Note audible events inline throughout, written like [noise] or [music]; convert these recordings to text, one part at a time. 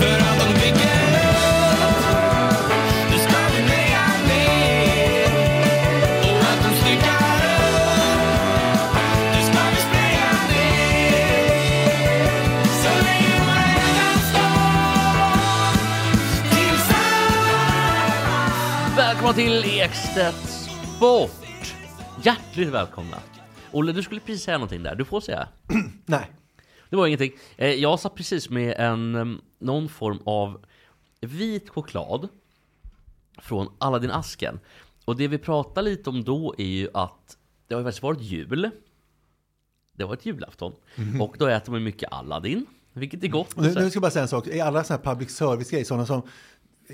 För att de bygger upp Det ska vi lägga ner Och att de styckar upp Det ska vi spraya ner Så länge varenda stad Tillsammans Välkomna till Ekstedt Sport! Hjärtligt välkomna! Olle, du skulle precis säga någonting där. Du får säga. Nej. Det var ingenting. Eh, Jag satt precis med en, em, någon form av vit choklad från Aladdin-asken. Och det vi pratade lite om då är ju att det har ju faktiskt varit jul. Det har varit julafton. Och då äter man ju mycket Aladdin. Vilket är gott. Nu, nu ska jag bara säga en sak. I alla sådana här public service-grejer, sådana som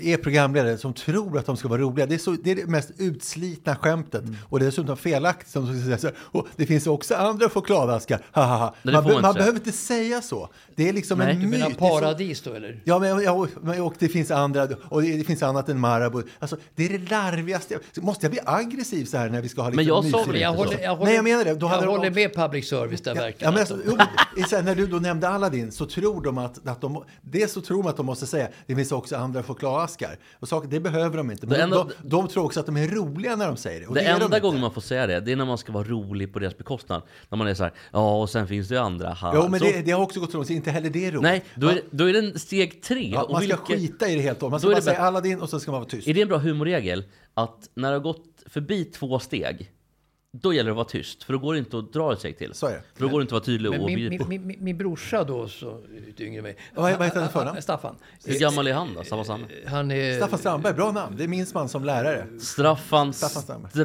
är programledare som tror att de ska vara roliga. Det är, så, det, är det mest utslitna skämtet. Mm. Och det är dessutom felaktigt. Som ska säga så här, "Åh, det finns också andra chokladaskar. Ha, ha, ha." det Man, får man be, man inte. behöver inte säga så. Det är liksom Nej. en Du myt. Menar Det är så- paradis då eller? Ja, men, ja, och, men- och det finns andra, och det, det finns annat än Marabou. Alltså, det är det larvigaste. Måste jag bli aggressiv så här när vi ska ha liksom Men jag sa mysigt? väl- Men jag håller, jag håller, Nej, jag menar det. Då hade jag de- håller med public service där Ja, ja, verkligen. men att alltså, de- jo, men sen när du då nämnde Aladdin så tror de att, att de, dels så tror de att de måste säga det finns också andra chokladaskar. Och saker, det behöver de inte. Men Det enda- de, de tror också att de är roliga när de säger det. Och Det det är de enda inte. gången man får säga det, det är när man ska vara rolig på deras bekostnad. När man är så här, ja och sen finns det ju andra. Ha, Jo, men så, det, det har också gått långt, så inte heller det är roligt. Nej, då Man- är, det- då är det steg tre. ja, och man ska vilket- skita i det helt och hållet. Man ska Då är bara det säga bättre. Aladdin och sen ska man vara tyst. Är det en bra humorregel att när det har gått förbi två steg, då gäller det att vara tyst. För då går det inte att dra ett steg till. Så är det. För då går det inte att vara tydlig och Men min, objektiv. min, min, min, min brorsa då, så lite yngre än mig. Vad- vad heter han i förnamn? Staffan. Eh, Hur gammal är han då? Samma samma. Han är... Staffan Strandberg, bra namn. Det minns man som lärare. Straffan Staffan Strandberg.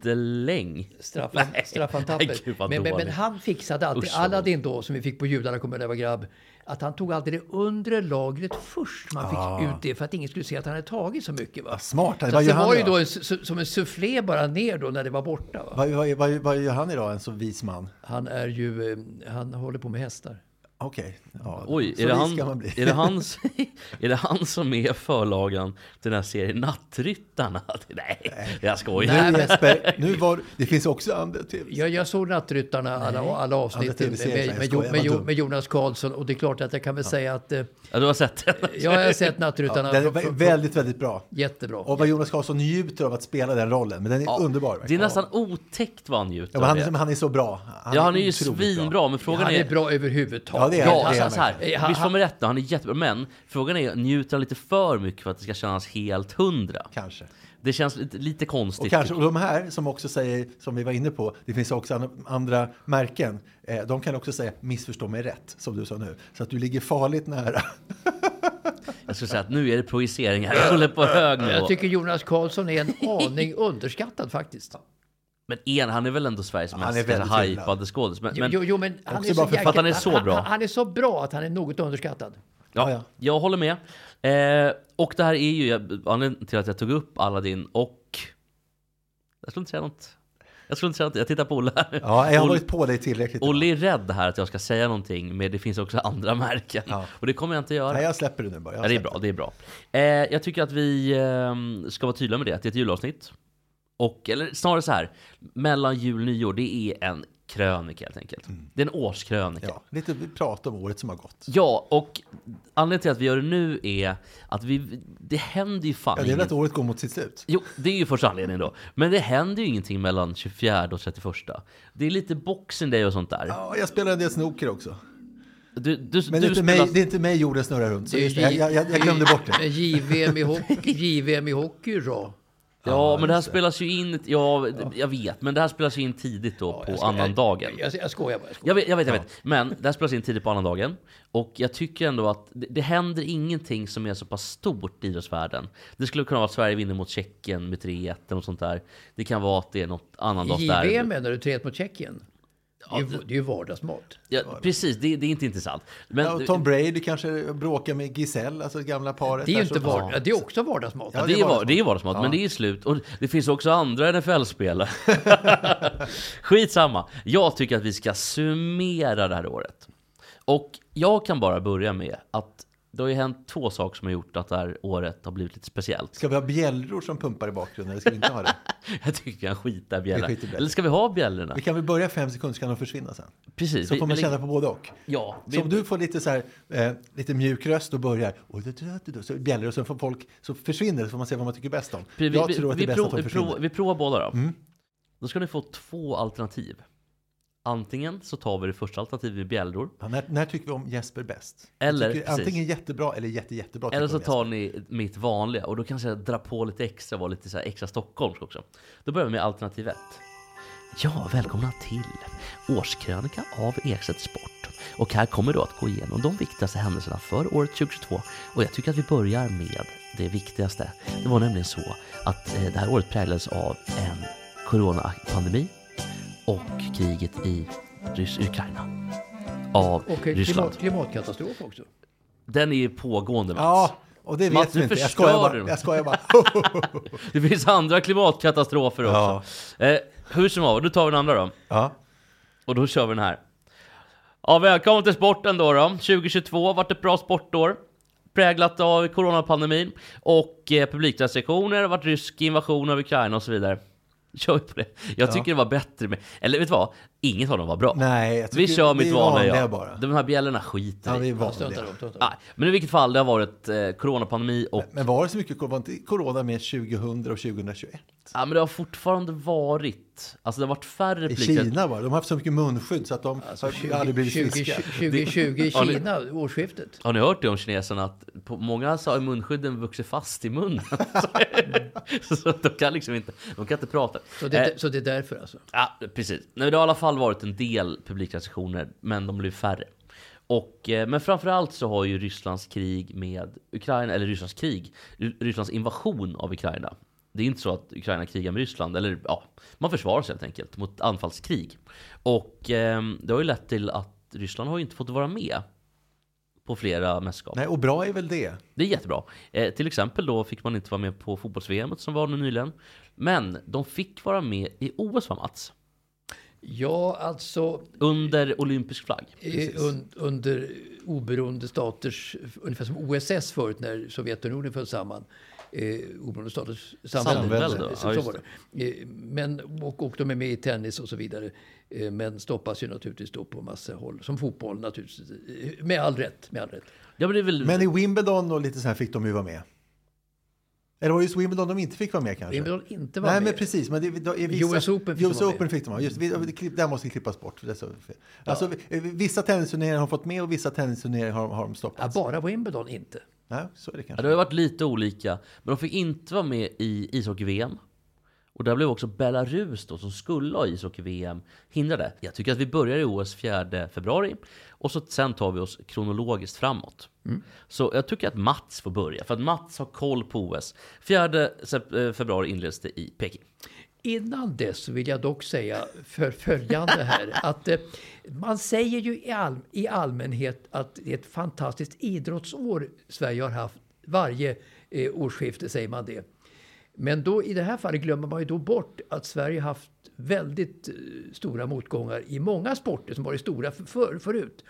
Strandeläng. Straffan, Nej. straffan Nej, gud, Tapper. vad Men, men, men dåligt. han fixade alltid, Usch, vad Aladdin då, som vi fick på judarna, kommer jag ihåg när jag var grabb, att han tog alltid det undre lagret först. Man fick ut det för att ingen skulle se att han hade tagit så mycket. Va? Smart, Så Ah. vad att gör det han var ju idag? då en, su- som en soufflé bara ner då när det var borta. Va? Vad, vad, vad, vad gör han idag, en så vis man? Han är ju, eh, han håller på med hästar. Okej. Ja, Oj, så är det, vis han, ska man bli. är, det han, som- är det han som är förlagan till den här serien Nattryttarna? [laughs] Nej, jag skojar. Nej, Nu [laughs] men- Jesper, nu var, det finns också andra tv Jag, jag såg Nattryttarna, alla, alla avsnitt med, TV-serier, jag med, med, skojar, Jo- vad med, Jo- dum. med Jonas Karlsson. Och det är klart att jag kan väl säga att eh, Ja, du har sett den? jag har [laughs] sett Nattryttarna. Den är från- vä- från- väldigt, väldigt bra. Jättebra. Och vad Jonas Karlsson njuter av att spela den rollen, men den är underbar. Det är verkligen. nästan otäckt vad han njuter Ja, av men han, det. är- men han är så bra. Han Ja, han är ju otroligt bra. svinbra, men frågan han är... är bra Ja, överhuvudtaget. det är Ja, han. alltså, är så här, verkligen. visst får man rätt då, han är jättebra. Men frågan är, njuter han lite för mycket för att det ska kännas helt hundra? Kanske. Det känns lite, lite Och, konstigt. kanske. och de här som också säger, som vi var inne på, det finns också an- andra märken. Eh, de kan också säga missförstå mig rätt, som du sa nu. Så att du ligger farligt nära. Jag skulle säga att nu är det projicering här, jag håller på hög nivå. Jag tycker Jonas Karlsson är en aning [laughs] underskattad faktiskt. Men en, han är väl ändå Sveriges är mest väldigt kanske hyllad. hypade skådis. Men, Jo, men jo, jo, men han också är, så bara för- jäkla- att han är så bra. Han, han är så bra att han är något underskattad. ja, Ja, ja. jag håller med. Eh, och det här är ju jag- anledningen till att jag tog upp Aladdin och... Jag skulle inte säga något. Jag skulle inte säga något. Jag tittar på Olle här. Ja, [laughs] jag har Olle- varit på dig tillräckligt. Olle är rädd här att jag ska säga någonting, men det finns också andra [laughs] märken. Ja. Och det kommer jag inte göra. Nej, jag släpper det nu bara. Jag Ja, det är släpper bra. Det är bra. Eh, jag tycker att vi ehm, ska vara tydliga med det, att det är ett julavsnitt. Och, eller snarare så här, mellan jul och nyår, det är en krönika helt enkelt. Det är en årskrönika. Mm. Ja, lite prat om året som har gått. Ja, och anledningen till att vi gör det nu är att vi, det händer ju fan Ja, det är väl inget. att året går mot sitt slut. Jo, det är ju första anledningen då. Men det händer ju ingenting mellan 24 och 31. Det är lite boxing day och sånt där. Ja, jag spelar en del snoker också. Du, du, Men det du är, inte spelar- mig, det är inte mig jorden snurrar runt. Så Det [laughs] är just det, jag, jag, jag glömde bort det. Men JVM i hockey, JVM i hockey då? Ja, men det här spelas ju in, ja, jag vet, men det här spelas ju in tidigt då på annandagen. Jag, jag skojar bara. Jag skojar. Jag vet, jag vet, jag vet. Men det här spelas in tidigt på annandagen. Och jag tycker ändå att det, det händer ingenting som är så pass stort i idrottsvärlden. Det skulle kunna vara att Sverige vinner mot Tjeckien med 3-1 eller något sånt där. Det kan vara att det är något annandagsderby. JVM menar du, 3 mot Tjeckien? Det är ju, det är ju vardagsmat. Ja, precis, det, det är inte intressant. Men, Ja, och Tom Brady kanske bråkar med Giselle, alltså det gamla paret. Det är ju där inte som- vardag, det är också vardagsmat. Alltså, Ja, det, det är är var, vardagsmat. det är vardagsmat, men det är slut. Och det finns också andra NFL-spelare. [laughs] Skitsamma. Jag tycker att vi ska summera det här året. Och jag kan bara börja med att det har ju hänt två saker som har gjort att det här året har blivit lite speciellt. [laughs] Ska vi ha bjällror som pumpar i bakgrunden eller ska vi inte ha det? Jag tycker vi kan skita i bjällror. Vi skiter i bjällror. Eller ska vi ha bjällrorna? Vi kan väl börja fem sekunder så kan de försvinna sen. Precis. Så vi- får man vi- känna på både och. Ja, vi- Så om du får lite, så här, eh, lite mjuk röst och börjar och då- då- då- då- så bjällror och så får folk så försvinner så får man se vad man tycker bäst om. Vi, jag vi, tror att det vi, är bäst prov- att de vi, prov- försvinner. Mm. vi provar båda då. Då ska ni få två alternativ. Antingen så tar vi det första alternativet med bjällror. Ja, när, när tycker vi om Jesper bäst? Eller- tycker, precis. antingen jättebra eller jätte, jättebra. Eller tycker så vi tar om ni mitt vanliga och då kanske jag drar på lite extra, var lite så här extra stockholmsk också. Då börjar vi med alternativ 1. Ja, välkomna till årskrönika av Ekstedt Sport. Och här kommer du att gå igenom de viktigaste händelserna för året 2022. Och jag tycker att vi börjar med det viktigaste. Det var nämligen så att eh, det här året präglades av en coronapandemi och kriget i Rys- Ukraina. Av Och Ryssland. klimat, klimatkatastrof också. Den är ju pågående Mats. Ja, och det vet Mats, vi nu inte. Jag förstör skojar du. bara. Jag skojar bara. [laughs] Det finns andra klimatkatastrofer också. Eh, hur som haver, då tar vi den andra då. ja. Och då kör vi den här. Ja, välkommen till sporten då. då. 2022 har varit ett bra sportår. Präglat av coronapandemin och eh, publikrestriktioner, det har varit rysk invasion av Ukraina och så vidare. Kör vi på det. Jag tycker det var bättre med... Eller vet du vad? Inget av dem var bra. Nej, jag tycker vi kör vi mitt är vanliga. vanliga jag. bara. De här bjällorna skiter ja, vi vi i. är vanliga. Struntar de, struntar de. Nej, Men i vilket fall, det har varit eh, coronapandemi och Men var det så mycket corona? Var inte corona med 2000 och 2021? Ja men det har fortfarande varit, alltså det har varit färre I repliker. Kina var det. De har haft så mycket munskydd så att de har 20, aldrig blivit friska. 2020 i Kina, årsskiftet. Har ni hört det om kineserna? Att på, många så har munskydden vuxit fast i [laughs] munnen. så, så att de kan liksom inte, de kan inte prata. Så det, Eh, så det är därför alltså. ja, precis. Nej, men det har i alla fall varit en del publikrestriktioner, men de blir färre. Och, eh, men framförallt så har ju Rysslands krig med Ukraina, eller Rysslands krig, Ry- Rysslands invasion av Ukraina. Det är inte så att Ukraina krigar med Ryssland, eller ja, man försvarar sig helt enkelt mot anfallskrig. Och ehm, det har ju lett till att Ryssland har ju inte fått vara med på flera mästerskap. Nej, och bra är väl det. Det är jättebra. Eh, till exempel då fick man inte vara med på fotbolls-VM som var nu nyligen. Men de fick vara med i OS va Mats? Ja, alltså Under olympisk flagg. eh, un, under oberoende staters, ungefär som OSS förut när Sovjetunionen föll samman. Eh, oberoende staters Samvälde, samvälde. ja, Så, så just var det. Eh, men, och, och de är med i tennis och så vidare. Eh, men stoppas ju naturligtvis då på massa håll. Som fotboll naturligtvis. Eh, Med all rätt. Med all rätt. Ja men det är väl... Men i Wimbledon och lite så här fick de ju vara med. Eller var det just Wimbledon de inte fick vara med kanske? Wimbledon inte var Nej, med. men precis. Men det, det, är vissa, US Open fick de US vara med. Open fick de vara med. Just, vi, det, klipp- det här måste vi klippas bort. för Det är så fel. Alltså, vi- vissa tennisturneringar har fått med och vissa tennisturneringar har, har de Ja, stoppat. bara Wimbledon inte. Nej, så är det ja, kanske. det har ju varit lite olika. Men de fick inte vara med i ishockey-VM. Och där blev också Belarus då som skulle ha ishockey-VM hindrade. Jag tycker att vi börjar i OS 4 februari. Och så sen tar vi oss kronologiskt framåt. Så jag tycker att Mats får börja. För att Mats har koll på OS. 4 sep- eh, februari inleds det i Peking. Innan dess så vill jag dock säga för [laughs] följande här. att eh, Man säger ju i, all, i allmänhet att det är ett fantastiskt idrottsår Sverige har haft. Varje eh, årsskifte säger man det. Men då, i det här fallet glömmer man ju då bort att Sverige haft väldigt eh, stora motgångar i många sporter som varit stora för, för, förut.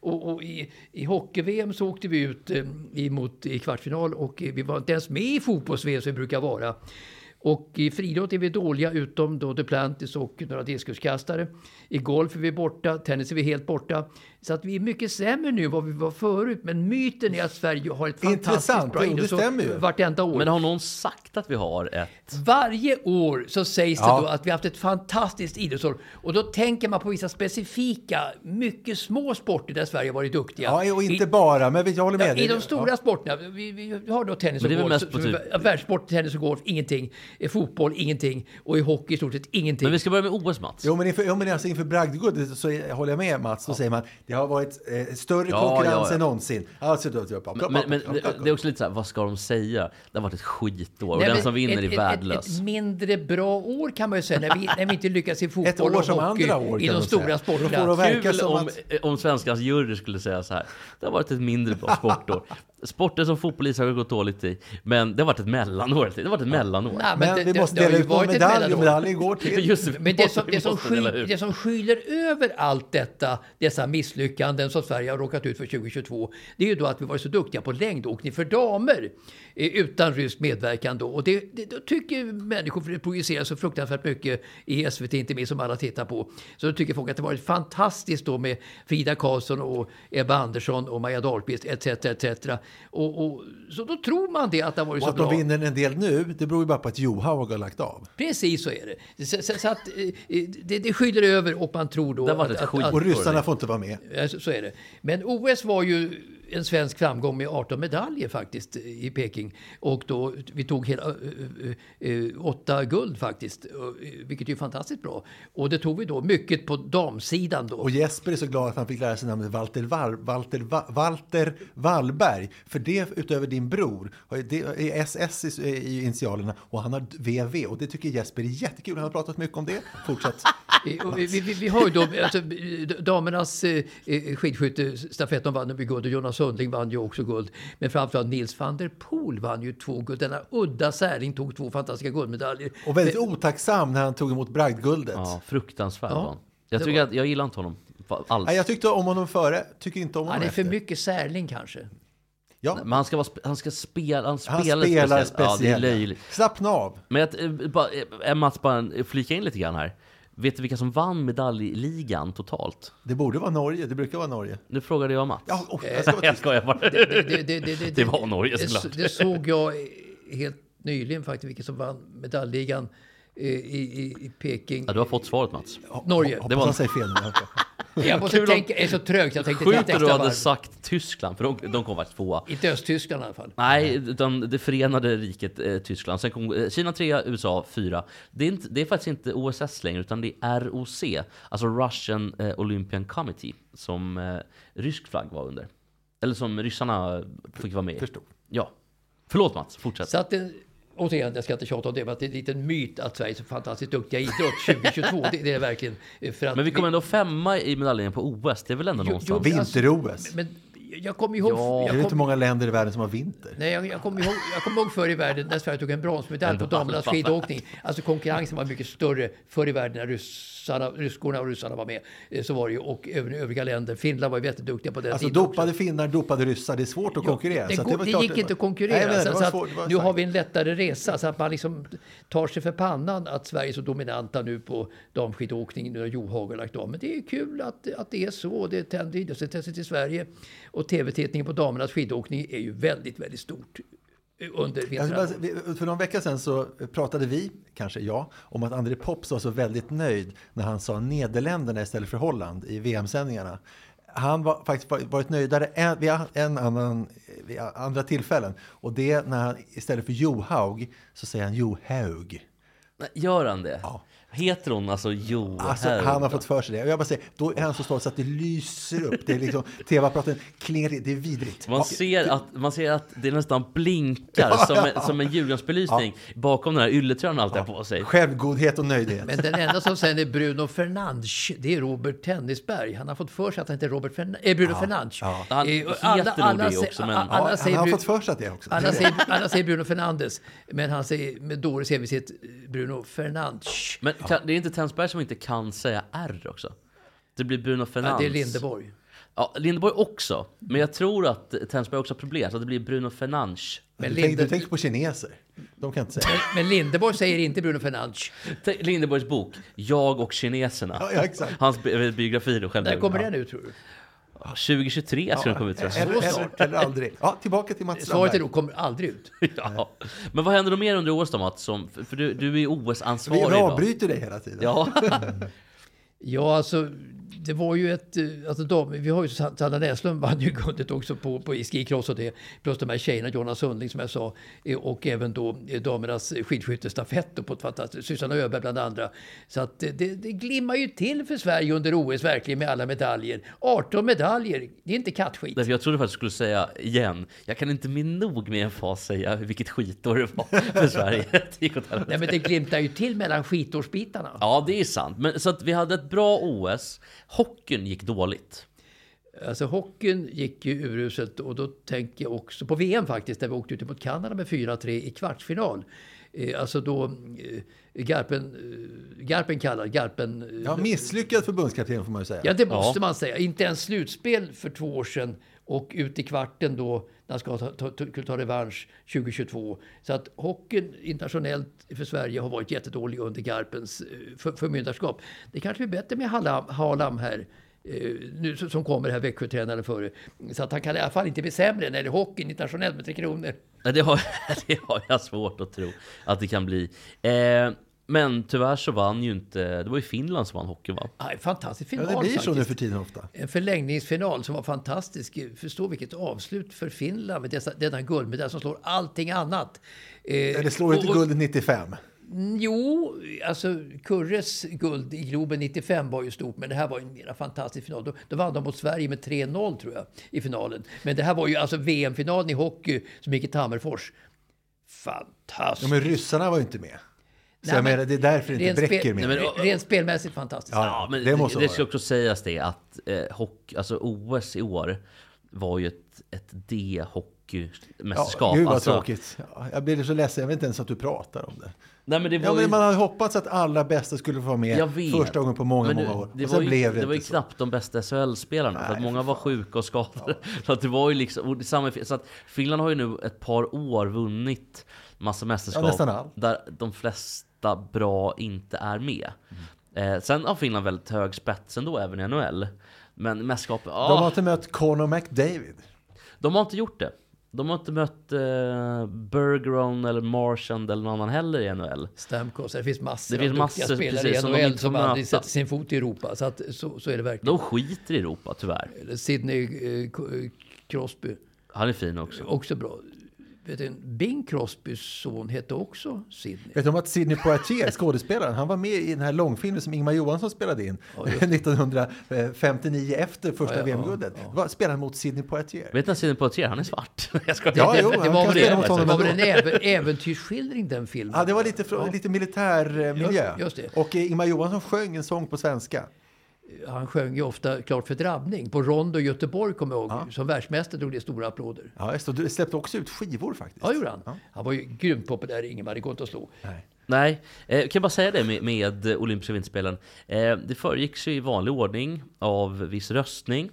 Och, och i, i hockey-VM så åkte vi ut eh, emot, i kvartsfinal och eh, vi var inte ens med i fotbolls-VM som vi brukar vara. Och i friidrott är vi dåliga utom då Duplantis och några diskuskastare. I golf är vi borta, tennis är vi helt borta. Så att vi är mycket sämre nu än vad vi var förut. Men myten är att Sverige har ett fantastiskt Intressant, bra jo, det idrottsår stämmer ju. vartenda år. Men har någon sagt att vi har ett... Varje år så sägs Ja. det då att vi har haft ett fantastiskt idrottsår. Och då tänker man på vissa specifika, mycket små sporter där Sverige har varit duktiga. Ja, och inte I, bara, men jag håller med ja, dig. I de stora sporterna, vi, vi har då tennis Men och det är väl golf. mest på så- så- typ- ja, Världssport, tennis och golf, ingenting. I fotboll ingenting och i hockey i stort sett ingenting. Men vi ska börja med OS Mats. Jo men, inför, jo, men alltså inför bragdguldet så är- håller jag med Mats. Då säger man det har varit eh, större Ja, konkurrens ja, ja. än någonsin. Alltså, då, då, då, då, Men, men det, det är också lite så här, vad ska de säga? Det har varit ett skitår och Nej, den men som vinner ett- är ett- värdelös. Ett, ett mindre bra år kan man ju säga när vi, när vi inte lyckas i fotboll [laughs] Ett år och som hockey, andra år, i kan de man stora säga. Då får sporterna. de verkligen- verkar Kul som om, att- eh, om svenskans jury skulle säga så här. Det har varit ett mindre bra [laughs] sportår. Sporter som fotboll i Sverige har gått dåligt i. Men det har varit ett mellanår. Det har varit ett mellanår. Nej, Men det- vi det- måste det har dela ju ut någon varit ett medalj mellanår. och medaljen går [laughs] till... Just Men det som, vi det, som måste dela sky, ut. det som skyler över allt detta, dessa misslyckanden som Sverige har råkat ut för 2022, det är ju då att vi varit så duktiga på längdåkning för damer eh, utan rysk medverkan då. Och det, det, då tycker människor, för det projiceras så fruktansvärt mycket i SVT, inte minst som alla tittar på, så då tycker folk att det varit fantastiskt då med Frida Karlsson och Ebba Andersson och Maja Dahlqvist etc. etc. Och, och, så då tror man det att det har varit Och så att de bra. vinner en del nu, det beror ju bara på att Johaug har lagt av. Precis så är det. Så, så, så att, eh, eh, det, det skyller över och man tror då... Det var att- ett att- skit- att- Och ryssarna får inte vara med. Ja, så- Så är det. Men OS var ju en svensk framgång med 18 medaljer faktiskt eh, i Peking. Och då, vi tog hela, eh, eh, eh, åtta guld faktiskt, eh, vilket är ju fantastiskt bra. Och det tog vi då mycket på damsidan då. Och Jesper är så glad att han fick lära sig namnet Walter, Wall, Walter, Va, Walter Wallberg. För det utöver din bror, har ju- det är SS i- i initialerna och han har VV. Och det tycker Jesper är jättekul. Han har pratat mycket om det. Fortsätt. Eh, och Vi, vi, vi- vi har ju då alltså, eh, damernas eh, eh, skidskyttestafett, de vann ju guld och Jonas Sundling vann ju också guld. Men framförallt Nils van der Poel vann ju två guld. Denna udda säring tog två fantastiska guldmedaljer. Och väldigt otacksam när han tog emot bragdguldet. Ja, fruktansvärt Ja, ja, Jag det tycker var- att jag gillar inte honom fa- alls. Nej, jag tyckte om honom före, tycker inte om honom Han är för efter. mycket [laughs] särling kanske. Ja, Men han ska, vara, sp- han ska spela, han spelar, han spelar speciellt. Ja, det är speciellt. löjligt. Slappna av. Men att, eh, bara, eh, Mats, bara flika in lite grann här. Vet du vilka som vann medaljligan totalt? Det borde vara Norge, det brukar vara Norge. Nu frågade jag Mats. Ja, oh, [laughs] jag ska vara jag tyst. skojar bara. det, det, det, [laughs] det, Det var Norge, det- såklart. Det såg jag helt nyligen faktiskt, vilka som vann medaljligan eh, i, i, i Peking. Ja, du har fått svaret Mats. Norge. Hoppas Det var- han säger fel nu. alltså. Jag måste Kul om- tänka, jag är så trög så jag tänkte Sjukt ett att du extra hade varv. sagt Tyskland, för de, de kom faktiskt tvåa. Inte Östtyskland i alla fall. Nej, utan det förenade riket eh, Tyskland. Sen kom eh, Kina trea, USA fyra. Det är, inte, det är faktiskt inte OSS längre, utan det är ROC. Alltså Russian eh, Olympian Committee, som eh, rysk flagg var under. Eller som ryssarna fick vara med i. Förstår. Ja. Förlåt Mats, fortsätt. Så att det, återigen, jag ska inte tjata om det, men att det är en liten myt att Sverige är så fantastiskt duktiga i idrott 2022. det, det är det verkligen. eh, För att Men vi kom ändå femma i medaljeringen på OS, det är väl ändå Jo, någonstans? jo, Vinter-OS. Men jag kommer ihåg... Ja. Det är jag ju kom, inte många länder i världen som har vinter. Nej, jag, jag kommer ihåg, jag kommer ihåg förr i världen när Sverige tog en bronsmedalj på Ändå [laughs] damernas alla. skidåkning. Alltså konkurrensen var mycket större förr i världen när ryssarna, ryskorna och ryssarna var med. Eh, Så var det ju. Och även övriga länder. Finland var ju jätteduktiga på den Alltså tiden dopade finnar, dopade ryssar, det är svårt att konkurrera. Det, så att går, var det klart gick var- inte att konkurrera. Nej, men det så, var så att svårt, det var nu har sagt. vi en lättare resa så att man liksom tar sig för pannan att Sverige är så dominanta nu på damskidåkning. Nu har Johaug lagt av. Men det är kul att, att det är så. Det tänder idrottsintresset i Sverige. Och tv-tittningen på damernas skidåkning är ju väldigt, väldigt stort eh, under Jag vill vintern. bara säga, vi- För någon vecka sedan så pratade vi, kanske jag, om att André Pops var så väldigt nöjd när han sa Nederländerna istället för Holland i VM-sändningarna. Han har faktiskt var- varit nöjdare än, vid, a- en annan, vid a- andra tillfällen. Och det är när han istället för Johaug så säger han Johaug. Nej, Gör han det? Ja. Heter hon alltså Jo Alltså, Herr? han har fått för sig det. Och jag bara säger, då är han så stolt så att det lyser upp. Det är [laughs] liksom, TV-apparaten klingar till. det är vidrigt. Man Ja. ser, att, man ser att det nästan blinkar som, en, som en julgransbelysning bakom den här ylletröjan han alltid har på sig. Självgodhet och nöjdhet. Men den enda som sen är Bruno Fernandes, det är Robert Tennisberg. Han har fått för sig att han heter Robert Fern- eh, Bruno Fernandes. ja. Han Eh, och heter nog det sä- också, men- a- Ja, alla han säger har Bru- fått för sig att det också. Alla säger, alla säger Bruno Fernandes, men han säger med dålig envishet Bruno Fernandes. Men kan, det är inte Tensberg som inte kan säga R också? Det blir Bruno Ja, Fernandes. det är Lindeborg. Ja, Lindeborg också. Men jag tror att Tensberg också har problem, så att det blir Bruno Fernandes. Men, du, tänker, Linde, du tänker på kineser. De kan inte säga. men Lindeborg säger inte Bruno Fernandes. Tänk Lindeborgs bok, Jag och kineserna. Ja, ja, exakt. Hans bi- eh, biografi då själv. När kommer den ut tror du? 2023 ska den komma ut tror jag. Eller, eller, eller aldrig. Ja, tillbaka till Mats Svaret är Strandberg. nog kommer aldrig ut. [laughs] Ja. Men vad händer då mer under OS då Mats? Som, för för du, du är Vi OS-ansvarig idag. avbryter dig hela tiden. Ja. Ja, alltså det var ju ett... eh, Alltså de, vi har ju San- Sanna Näslund vann ju guldet också på, på i skikross och det. Plus de här tjejerna, Jonas Sundling som jag sa. eh, Och även då eh, damernas skidskyttestafett och på ett fantastiskt... Susanna Öberg bland andra. Så att eh, det, det glimmar ju till för Sverige under OS verkligen med alla medaljer. 18 medaljer, det är inte kattskit. Därför [laughs] jag trodde faktiskt du skulle säga igen, jag kan inte med nog med en fas säga vilket skitår det var för Sverige. [laughs] Det gick åt helvete. Nej men det glimtar ju till mellan skitårsbitarna. Ja, det är sant. Men, så att vi hade ett bra OS. Hockeyn gick dåligt. Alltså hockeyn gick ju uruselt och då tänker jag också på VM faktiskt där vi åkte ut mot Kanada med 4-3 i kvartsfinal. Eh, Alltså då eh, Garpen, eh, Garpen kallad, Garpen... eh, Ja, misslyckad förbundskapten får man ju säga. Ja, det måste man säga. Inte ens slutspel för två år sedan och ut i kvarten då när han ska ta, ta, ta, ta revansch 2022. Så att hockeyn internationellt för Sverige har varit jättedålig under Garpens eh, för, förmyndarskap. Det kanske blir bättre med Hallam, Halam här. eh, Nu som som kommer här, Växjötränaren före. Så att han kan i alla fall inte bli sämre när det är hockeyn internationellt med Tre Kronor. Nej, Det har, [laughs] det har jag svårt att tro att det kan bli. Eh, men tyvärr så vann ju inte, det var ju Finland som vann hockey va? Ah, en fantastisk Ja, final det blir så faktiskt. nu för tiden ofta. En förlängningsfinal som var fantastisk. Förstå vilket avslut för Finland med dessa, denna guldmedalj som slår allting annat. Eh, Eller slår inte och- och- guldet 95? Jo, alltså Kurres guld i Globen 95 var ju stort, men det här var ju en mera fantastisk final. Då, då vann de mot Sverige med 3-0 tror jag i finalen. Men det här var ju alltså VM-finalen i hockey som gick i Tammerfors. Ja, Fantastiskt! men ryssarna var ju inte med. Så Nej, jag men- menar, det är därför det inte Rent bräcker spel- mer. Nej, men- Rent spelmässigt fantastiskt. Ja, men det måste det vara ska det. också sägas det att eh, hockey, alltså OS i år var ju ett, ett D-hockeymästerskap. gud vad alltså, tråkigt. Ja, jag blir så ledsen, jag vet inte ens att du pratar om det. Nej men det var Ja, ju... men man hade hoppats att alla bästa skulle få vara med Jag vet. första gången på många, Men många år. Det och var sen ju, blev det, det var ju inte så. knappt de bästa SHL-spelarna. För att Nej, många var sjuka och skadade. [laughs] Så att det var ju liksom... Och det samma, är- så att Finland har ju nu ett par år vunnit massa mästerskap. Ja, nästan allt. Där de flesta bra inte är med. Mm. Eh, sen har Finland väldigt hög spets ändå, även i NHL. Men mästerskap... Ah, De har inte mött Conor McDavid. inte gjort det. De har inte mött eh, Bergeron eller Marchand eller någon annan heller i NHL. Stamkos, det finns massor Det finns av duktiga massor, spelare precis, i som de NHL inte får som aldrig möta. sätter sin fot i Europa. Så, att, så, så är det verkligen. De skiter i Europa, tyvärr. Sidney eh, K- eh, Crosby. Han är fin också. Också bra. Vet du, Bing Crosbys son hette också Sidney. Vet du om att [laughs] Sidney Poitier, skådespelaren, han var med i den här långfilmen som Ingmar Johansson spelade in [laughs] 1959 efter första Ja, ja, VM-guldet. Det var Spelaren mot Sidney Poitier. Vet ni att Sidney Poitier, han är svart. [laughs] Jag skojar. Ja, jo, det, han var kan väl spela mot det, det honom var väl en ändå. även, äventyrsskildring den filmen? Ja, det var lite, från, lite militär eh, miljö. just det. Och eh, Ingmar Johansson sjöng en sång på svenska. Han sjöng ju ofta Klart för drabbning på Rondo i Göteborg, kommer jag ihåg. Som världsmästare drog det stora applåder. Ja, just det. Du släppte också ut skivor faktiskt. Ja, det gjorde han. Han var ju grymt populär, Ingemar. Det går inte att slå. Nej. Nej, eh, kan jag bara säga det med, med olympiska vinterspelen. Eh, det föregicks ju i vanlig ordning av viss röstning.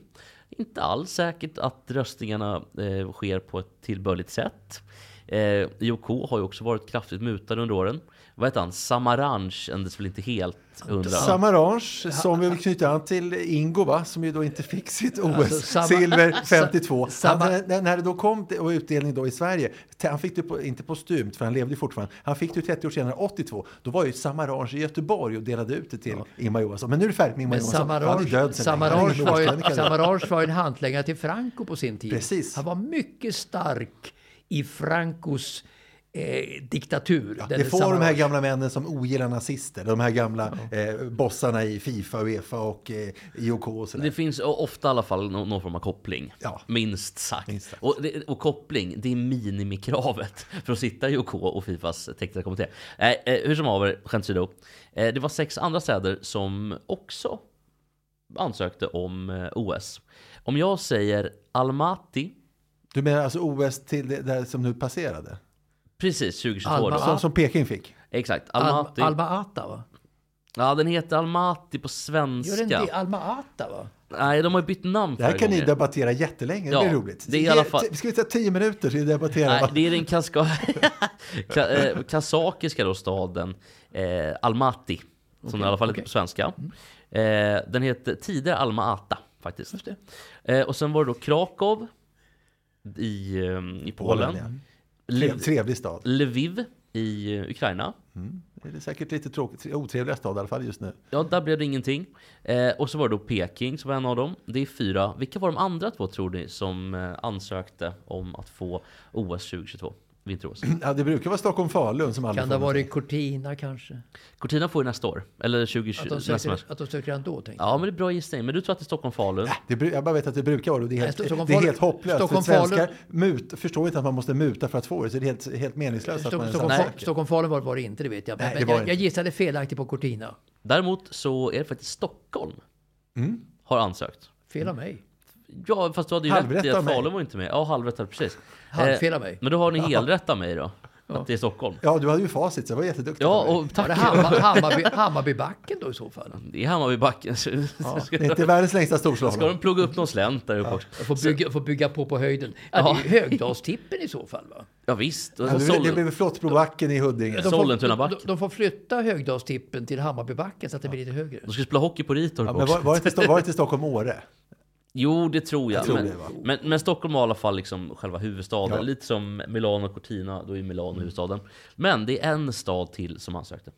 Inte alls säkert att röstningarna eh, sker på ett tillbörligt sätt. Eh, IOK har ju också varit kraftigt mutade under åren. Vad hette han? Samaranch kändes väl inte helt hundra. Samaranch, som vi vill knyta an till Ingo, va? som ju då inte fick sitt samma- OS-silver 52. samma- Han, när, när det då kom till, och utdelning då i Sverige, te- han fick det på, inte postumt, för han levde ju fortfarande, han fick det ju 30 år senare, 82. Då var ju Samaranch i Göteborg och delade ut det till Ingmar Johansson. Men nu är det färdigt med Ingmar Men Johansson. Han är död sedan Samaranch Samaranch länge. Han var, är ju, ingen årskrönika längre. Samaranch var ju en hantlangare till Franco på sin tid. Precis. Han var mycket stark i Francos eh, diktatur. Det denne får de här Samaranch. gamla männen som ogillar nazister, de här gamla eh, bossarna i Fifa, Uefa och eh, IOK och sådär. Det finns o- ofta i alla fall nå- någon form av koppling. Ja. Minst sagt. Minst sagt. Och, det, och koppling, det är minimikravet [laughs] för att sitta i OK och Fifas tekniska kommitté. Eh, eh, hur som haver, skämt åsido. Eh, det var sex andra städer som också ansökte om eh, OS. Om jag säger Almaty, Du menar alltså OS till det där som nu passerade? precis 2022 Alma- då. Som, som Peking fick? Exakt, Al- Almaty. Alma Ata, va? ja, den heter Almaty på Gör den svenska. det? Alma Ata, va? Nej, de har ju bytt namn Det här flera kan ni gånger. debattera jättelänge, det Ja, blir roligt. det är i alla fall- Ge- t- Ska vi ta tio minuter till att debattera? Nej, va? det är den kaska... [laughs] Ka- eh, kazakiska då staden eh, Almaty. Som i alla fall heter på svenska. Eh, den heter tidigare Alma-Ata faktiskt. Eh, och sen var det då Krakow i, eh, i Polen. Polen, Trev, trevlig stad. Lviv i eh, Ukraina. Det är säkert lite tråkigt, otrevliga stad i alla fall just nu. Ja, där blev det ingenting. Eh, och så var det då Peking som var en av dem. Det är fyra. Vilka var de andra två tror ni som eh, ansökte om att få OS 2022? Vinter-OS. Ja, det brukar vara Stockholm-Falun som aldrig Kan det får ha varit Cortina kanske? Cortina får ju nästa år. Eller Att 2020. de nästa match. söker, att de söker ändå, tänker Ja, men det är bra gissning. Men du tror att det är Stockholm-Falun? Äh, Det, bru- jag bara vet att det brukar vara det. Det är helt, Nej, Stockholm- det är helt hopplöst. Stockholm- Svenskar mut, förstår inte att man måste muta för att få det, så det är helt, helt meningslöst att man Stockholm, ens Stockholm, ansöker. Stockholm Falun var, var det inte, det vet jag. Men, Nej, det men var jag, inte. jag gissade felaktigt på Cortina. Däremot så är det faktiskt Stockholm Mm. har ansökt. Fel av mig. Ja, fast du hade ju Halvrätt rätt i av att mig. Falun var inte med. Ja, halvrätt hade precis. Eh, Halvfel av mig. Men då har ni helrätt av mig då. Att det är Stockholm. Ja, du hade ju facit, så det var jätteduktigt. Ja, av dig. och Var det tack. Hammar, Hammarby, Hammarbybacken då i så fall? Det är Hammarbybacken. [laughs] Så- Ja, Ska, det är inte världens längsta ska storslag. de plugga upp någon slänt där uppe också? Jag får bygga, får bygga på på höjden. Ja, det är ju Högdalstippen i så fall va? Ja, visst. Och Ja, så det blir- det Sollen- blir Flottsbrobacken i Huddinge. De får, de, Sollentunabacken. de- de får flytta Högdalstippen till Hammarbybacken så att det blir lite högre. De ska spela hockey på Ritorp Ja, men också. var, var, det inte, Sto- var det inte Stockholm-Åre? Jo, det tror jag. Jag tror men, det, va? men, men Stockholm var i alla fall liksom själva huvudstaden. Ja. Lite som Milano och Cortina, då är Milano huvudstaden. Men det är en stad till som ansökte.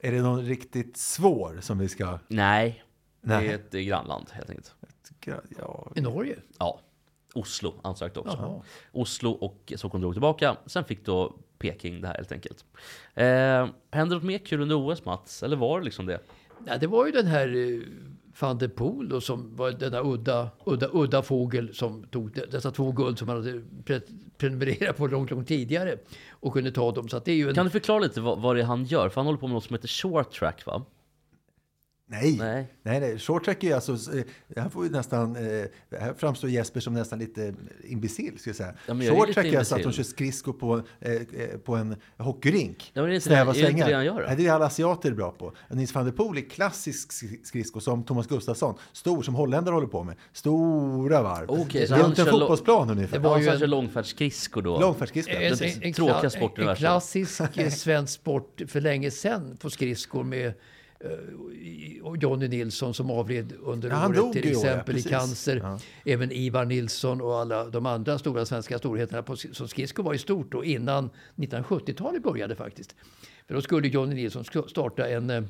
Är det någon riktigt svår som vi ska... Nej, det Nej. är ett eh, grannland helt enkelt. Ja, I Norge? Ja, Oslo ansökte också. Oslo och Stockholm drog tillbaka. Sen fick då Peking det här helt enkelt. Eh, hände något mer kul under OS Mats? Eller var det liksom det? Nej, det var ju den här eh, van der Poel då, som var denna udda, udda, udda fågel som tog de- dessa två guld som han hade pre- prenumererat på långt, långt tidigare och kunde ta dem. Så att det är ju en... Kan du förklara lite vad, vad det är han gör? För han håller på med något som heter short track va? Nej. Nej. nej, nej, Short track är ju alltså, eh, här får ju nästan, eh, här framstår Jesper som nästan lite imbecill, ska jag säga. Ja, men jag är short lite track är alltså att de imbecill. kör skridskor på, eh, eh, på en hockeyrink. Ja, men det är inte Snäva det- är det inte svängar. det han gör då? Nej, det är alla asiater bra på. Nils van der Poel är klassisk sk- skridsko som Thomas Gustafsson, stor, som holländare håller på med. Stora varv. Okej, så det är han inte en kör lo- fotbollsplan Det ungefär. var Han ju kanske en- långfärdsskridskor då. Långfärdsskridskor. En, en, en, Tråkiga kla- sport i en världen. klassisk eh, svensk sport för länge sedan på skridskor med eh, i- och Johnny Nilsson som avled under Ja, han året dog i till år, ja, exempel i precis. cancer. Ja. Även Ivar Nilsson och alla de andra stora svenska storheterna på, sk- som skridskor var ju stort då innan 1970-talet började faktiskt. För då skulle Johnny Nilsson sk- starta en eh,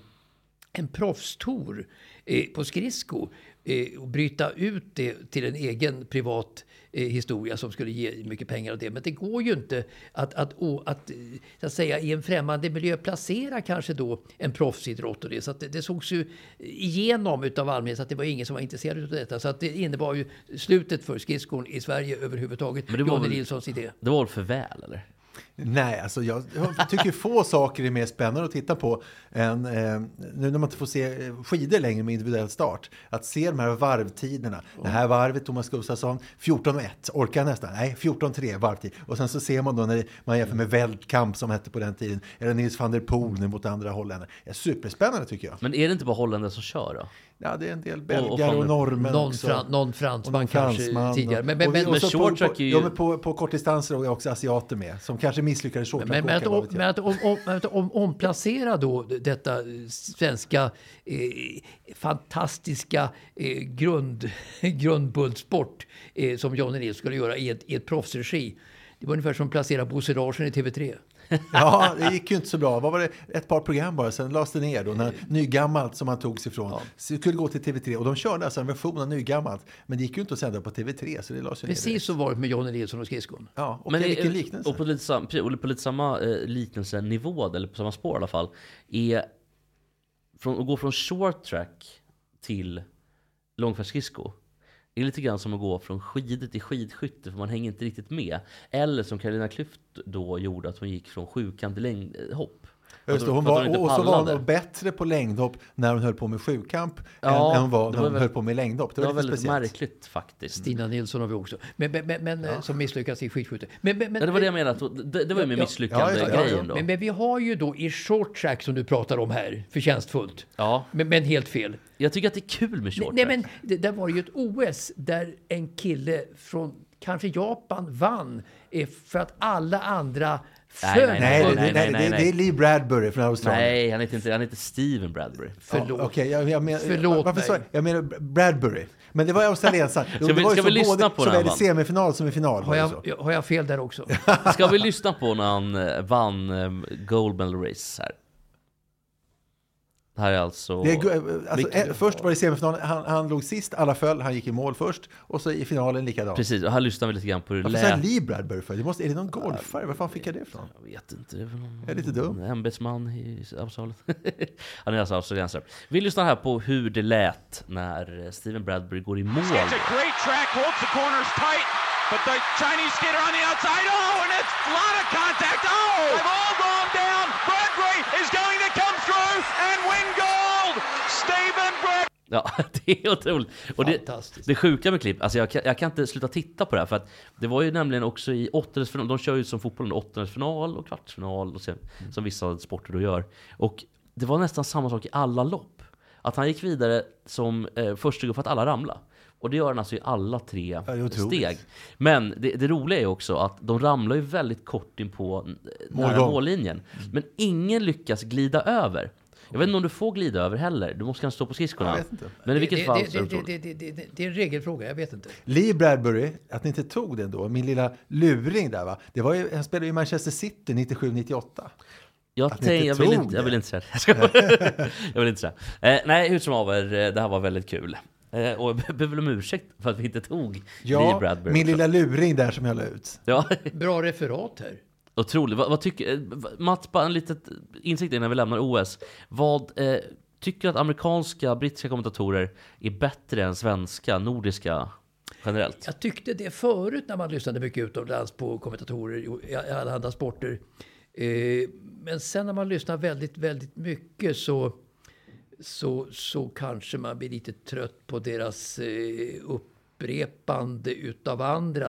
en proffstour eh, på skridsko eh, och bryta ut det till en egen privat eh, historia som skulle ge mycket pengar och det. Men det går ju inte att, att, å- att, eh, så att säga, i en främmande miljö placera kanske då en proffsidrott och det. Så att det, det sågs ju igenom utav allmänheten att det var ingen som var intresserad av detta. Så att det innebar ju slutet för skridskon i Sverige överhuvudtaget. det var Johnny väl- Nilssons idé. Det var väl för väl eller? Nej, alltså jag, jag tycker få saker är mer spännande att titta på än eh, nu när man inte får se eh, skidor längre med individuell start. Att se de här varvtiderna. Det här varvet, Thomas Gustafsson, 14-1, orkar han nästan? Nej, 14-3 varvtid. Och sen så ser man då när man jämför med Weltkamp som hette på den tiden, eller Nils van der Poel nu mot andra holländare. Ja, superspännande tycker jag. Men är det inte bara holländare som kör då? Ja, det är en del och van belgare der och, Poel. norrmän Någon, också. fran, någon Och fransman någon kanske fransman och- tidigare. Men, men, och vi- men, och men, så men på- short track på- är ju- ja, men på, på kortdistanser har vi också asiater med, som kanske misslyckades short men, men att, track-åkare, vad om, vet jag. men att om, om, men att om, omplacera då detta svenska eh, fantastiska eh, grund, [laughs] grundbultsport eh, som Johnny Nilsson skulle göra i ett, i ett proffsregi. Det var ungefär som att placera Bosse Larsson i TV3. Ja, det gick ju inte så bra. Vad var det? Ett par program bara, sen lades det ner då. När nygammalt som man tog sig ifrån så skulle gå till TV3. Och de körde alltså en version av nygammalt. Men det gick ju inte att sända på TV3 så det lades ju ner. Precis direkt. så var det med Johnny Nilsson och skridskon. Ja, och Men är- vilken liknelse. Och på lite, sam- pre- och på lite samma eh, liknelsenivå, eller på samma spår i alla fall, är från, att gå från short track till långfärdsskridsko. Det är lite grann som att gå från skidor till skidskytte för man hänger inte riktigt med. Eller som Carolina Klüft då gjorde att hon gick från sjukan till längdhopp. Ja, Just det, hon var, och och så var hon nog bättre på längdhopp när hon höll på med sjukamp Ja, än, än hon det var när var hon väl- höll på med längdhopp. Det Det var var, lite väldigt speciellt. märkligt faktiskt. Stina Nilsson har vi också. Men, men, men, men, eh, Som misslyckades i skidskytte. Men, men, men, Ja, det var det jag menade, att hon- det, det var ju mer Ja, ja. Ja, misslyckande just det. Ja, ja. grejen då. men, men vi har ju då i short track som du pratar om här, förtjänstfullt. Ja, Men, men helt fel. jag tycker att det är kul med short Nej, track. men det, där var ju ett OS där en kille från kanske Japan vann eh, för att alla andra Nej, nej, Sören Nej, Sköld. det, nej, nej, nej, nej, nej. det är Lee Bradbury från Australien. Nej, han heter inte, han heter Steven Bradbury. Ja, Förlåt. Okej, jag, jag men, Förlåt varför mig. sa jag- Jag menar Bradbury. Men det var ju australiensaren. Jo, vi- det var [laughs] ju ska vi så lyssna både- på den här, Såväl va? i semifinal som i final. Har Var det så. jag, har jag fel där också? Ska vi lyssna på när han eh, vann eh, Gold Medal Race här? Det här är alltså... Det är, gu- alltså, Vilket- eh, först var det semifinalen, han, han låg sist, alla föll, han gick i mål först. Och så i finalen likadant. Precis, och här lyssnar vi lite grann på hur det Varför sa jag lät. Lee Bradbury för? Det måste, är det någon golfare? Var fan fick jag det ifrån? Jag vet inte, det är väl någon Jag är lite dum. en ämbetsman i Australien. [laughs] Han är alltså australiensare. Vi lyssnar här på hur det lät när eh, Steven Bradbury går i mål. It's a great track. Wolf, the corner's tight, but the Chinese skater on the outside. Oh, and it's a lot of contact. Oh, they've all gone down. Bradbury is going to come through and win gold. Steven Bradbury. [laughs] Ja, det är otroligt. Och det, Fantastiskt. det sjuka med klipp, alltså jag, kan, jag kan inte sluta titta på det här för att det var ju nämligen också i åttondelsfinal, de kör ju som fotbollen åttondelsfinal och kvartsfinal och sen, Mm. som vissa sporter då gör. Och det var nästan samma sak i alla lopp. Att han gick vidare som eh, första för att alla ramla. Och det gör han alltså i alla tre det är otroligt. steg. Men det, det roliga är ju också att de ramlar ju väldigt kort in på eh, nära Målgång. Mm. mållinjen. Men ingen lyckas glida över. Jag vet inte om du får glida över heller. Du måste kanske stå på skridskorna. Jag vet inte. Men i vilket det, fall det, så är det det, otroligt. det, det, det, det, det är en regelfråga, jag vet inte. Lee Bradbury, att ni inte tog den då, min lilla luring där va. Det var ju, han spelade ju i Manchester City 97-98. Jag, att ni tänk, jag, inte vill tog inte, jag det. vill inte säga det. Jag [laughs] skojar. jag vill inte säga. Eh, nej, hur som haver, eh, det här var väldigt kul. Eh, och jag ber väl om ursäkt för att vi inte tog Lee Ja, Bradbury. min lilla luring där som jag la ut. Ja, [laughs] Bra referat här. otroligt. Vad, vad tycker... eh, Mats, bara en liten insikt innan vi lämnar OS. Vad... Eh, tycker du att amerikanska, brittiska kommentatorer är bättre än svenska, nordiska generellt? Jag tyckte det förut när man lyssnade mycket utomlands på kommentatorer i- i alla andra sporter. Eh, Men sen när man lyssnar väldigt, väldigt mycket så, så, så kanske man blir lite trött på deras eh, upprepande utav andra.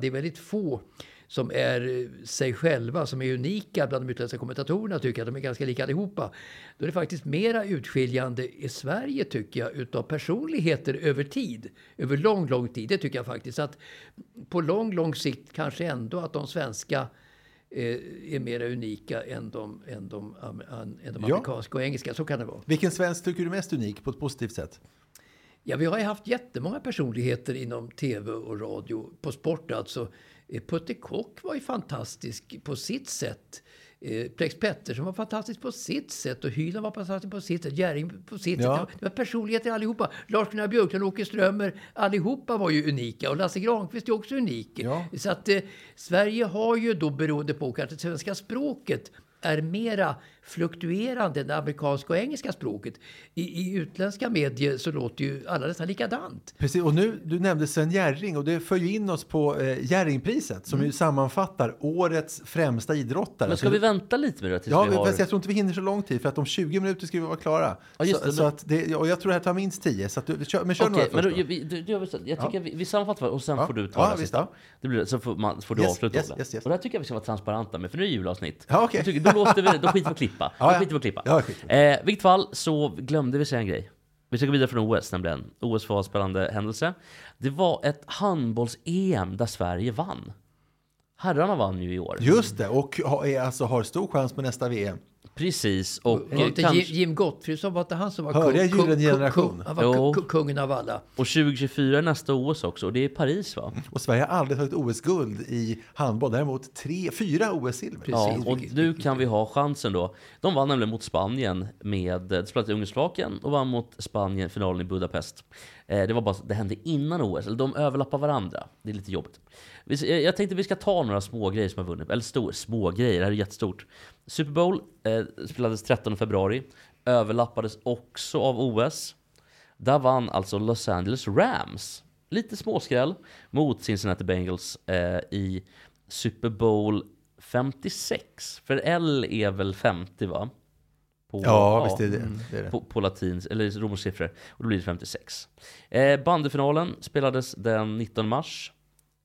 Det är väldigt få som är eh, sig själva, som är unika bland de utländska kommentatorerna, tycker jag. De är ganska lika allihopa. Då är det faktiskt mera utskiljande i Sverige, tycker jag, utav personligheter över tid. Över lång, lång tid. Det tycker jag faktiskt. Att på lång, lång sikt kanske ändå att de svenska eh, är mera unika än de, än de, am- an- än de Ja. amerikanska och engelska. Så kan det vara. Vilken svensk tycker du är mest unik på ett positivt sätt? Ja, vi har ju haft jättemånga personligheter inom tv och radio, på sport alltså. Eh, Putte Kock var ju fantastisk på sitt sätt. Eh, Plex Pettersson var fantastisk på sitt sätt och Hyland var fantastisk på sitt sätt. Jerring på sitt Ja. sätt. Det var personligheter allihopa. Lars-Gunnar Björklund, Åke Strömmer, allihopa var ju unika. Och Lasse Granqvist är också unik. Ja. Så att eh, Sverige har ju då, beroende på kanske det svenska språket, är mera fluktuerande än det amerikanska och engelska språket. I, i utländska medier så låter ju alla nästan likadant. Precis, och nu, du nämnde Sven Jerring och det för ju in oss på eh, Jerringpriset som ju sammanfattar årets främsta idrottare. Mm. Men ska vi Alltså, vänta lite med det tills Ja, vi har... fast jag tror inte vi hinner så lång tid för att om 20 minuter ska vi vara klara. Ja, just så, det. så att det, och jag tror det här tar minst 10. Så att du, kör, men kör Okej, men några då, först då. vi, du, du, jag, jag tycker vi, vi sammanfattar och sen Ja. får du Ja, ta det visst, sista. ja. det blir, så får, man, får du Yes, avsluta yes, Olle. yes, yes. Och det här tycker jag vi ska vara transparenta med, för nu är det julavsnitt. Ja, okej. Jag tycker- Då, låter vi, då skiter vi i att klippa. [laughs] Ja, då ja. skiter vi i att klippa. Ja, skit. Eh, vilket fall så glömde vi säga en grej. Vi ska gå vidare från OS nämligen. OS var en spännande händelse. Det var ett handbolls-EM där Sverige vann. Herrarna vann ju i år. Just det, och ha, är, alltså, har stor chans på nästa VM. Precis, och, Mm. Var det inte kanske- Jim- Jim Gottfried som var inte han som var Hörde jag kung, Gyllene Generation? han var Jo. ku- ku- kungen av alla. och 2024 är nästa OS också, och det är Paris va? Och Sverige har aldrig tagit OS-guld i handboll, däremot tre, fyra OS-silver. Ja, Precis, och vilket- nu kan vi ha chansen då. De vann nämligen mot Spanien med, de spelade i Ungdomslagen och vann mot Spanien i finalen i Budapest. Eh, det var bara, det hände innan OS, eller de överlappar varandra. Det är lite jobbigt. Vi, s- eh, jag tänkte vi ska ta några små grejer som har vunnit, eller stor, små grejer, det här är jättestort. Super Bowl eh, spelades 13 februari, överlappades också av OS. Där vann alltså Los Angeles Rams, lite småskräll, mot Cincinnati Bengals eh, i Super Bowl 56. För L är väl 50 va? På, Ja, visst är det det. Är det. På, på latins, eller romerska siffror. Och då blir det 56. Eh, bandyfinalen spelades den 19 mars.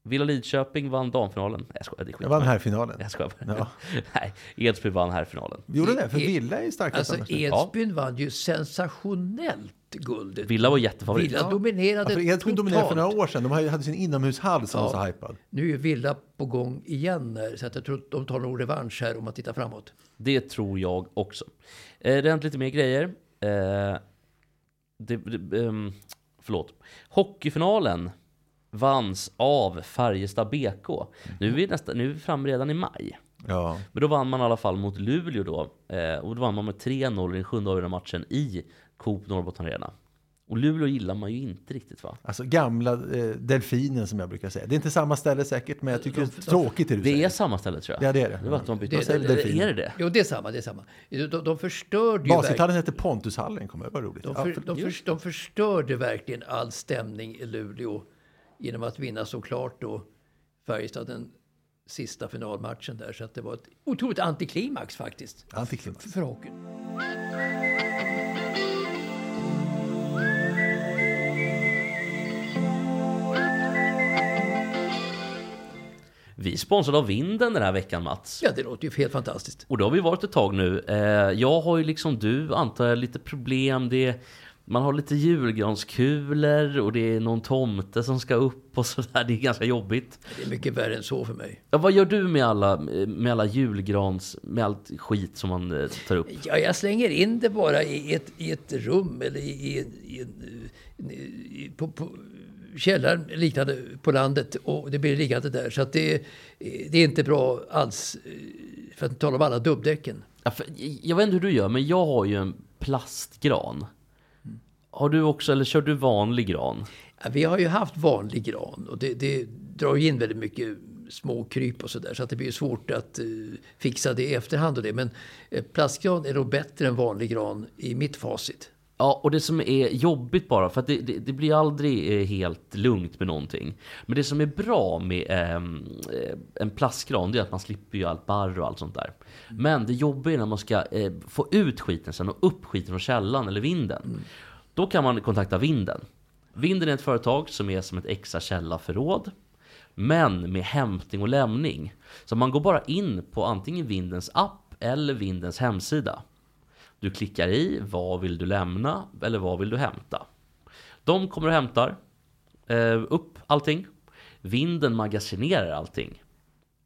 Villa Lidköping vann damfinalen. Nej, jag skojar, det är skit. Jag vann här finalen. Jag skojar bara. Ja. [laughs] Nej, Edsby vann här finalen. Gjorde det? För I- Villa är ju starkast Alltså annars. Edsbyn vann ju sensationellt guldet. Villa var jättefavorit. Villa Ja, dominerade för Edsbyn totalt. dominerade för några år sedan. De hade hade sin inomhushall som Ja. var så hypad. Nu är Villa på gång igen, här, så att jag tror att de tar nog revansch här om man tittar framåt. Det tror jag också. Eh, det har hänt lite mer grejer. Eh, det, det, ehm, förlåt. Hockeyfinalen vanns av Färjestad BK. Nu är vi, nästa, nu är vi framme redan i maj. Ja. Men då vann man i alla fall mot Luleå då. Eh, och då vann man med 3-0 i den sjunde avgörande matchen i Coop Norrbotten Arena. Och Luleå gillar man ju inte riktigt va? Alltså gamla eh, delfinen som jag brukar säga. Det är inte samma ställe säkert, men jag tycker det är tråkigt det du Det säger. är samma ställe tror jag. Ja, det är det. Det var att de bytte. Det- Det, det- det- är det det? Jo, det är samma. Det är samma. De, de förstörde ju verkligen. Baskethallen hette Pontushallen, kommer jag ihåg. Vad roligt. De, Ja, för, för- de, för, de förstörde verkligen all stämning i Luleå genom att vinna så klart då Färjestad den sista finalmatchen där. Så att det var ett otroligt antiklimax faktiskt Antiklimax. för hockeyn. Vi är sponsrade av vinden den här veckan Mats. Ja, det låter ju helt fantastiskt. Och det har vi varit ett tag nu. Eh, jag har ju liksom du, antar jag, lite problem. Det är, man har lite julgranskulor och det är någon tomte som ska upp och [laughs] sådär. Det är ganska jobbigt. Det är mycket värre än så för mig. Ja, vad gör du med alla, med alla julgrans, med allt skit som man eh, tar upp? Ja, jag slänger in det bara i ett, i ett rum eller i, i, en- i, en- i, på, på källaren liknande på landet och det blir liggande där. Så att det, det är inte bra alls. eh, För att inte tala om alla dubbdäcken. Ja, för, jag vet inte hur du gör, men jag har ju en plastgran. Mm. Har du också, eller kör du vanlig gran? Ja, Vi har ju haft vanlig gran och det, det drar ju in väldigt mycket små kryp och sådär så att det blir ju svårt att eh, fixa det i efterhand och det. Men eh, plastgran är nog bättre än vanlig gran i mitt facit. Ja, och det som är jobbigt bara, för att det, det, det blir aldrig eh, helt lugnt med någonting. Men det som är bra med ehm, eh, en plastgran, det är att man slipper ju allt barr och allt sånt där. Men det jobbiga är när man ska eh, få ut skiten sen och upp skiten från källan eller vinden. Då kan man kontakta vinden. Vinden är ett företag som är som ett extra källarförråd. Men med hämtning och lämning. Så man går bara in på antingen vindens app eller vindens hemsida. Du klickar i vad vill du lämna eller vad vill du hämta. De kommer och hämtar eh, upp allting. Vinden magasinerar allting.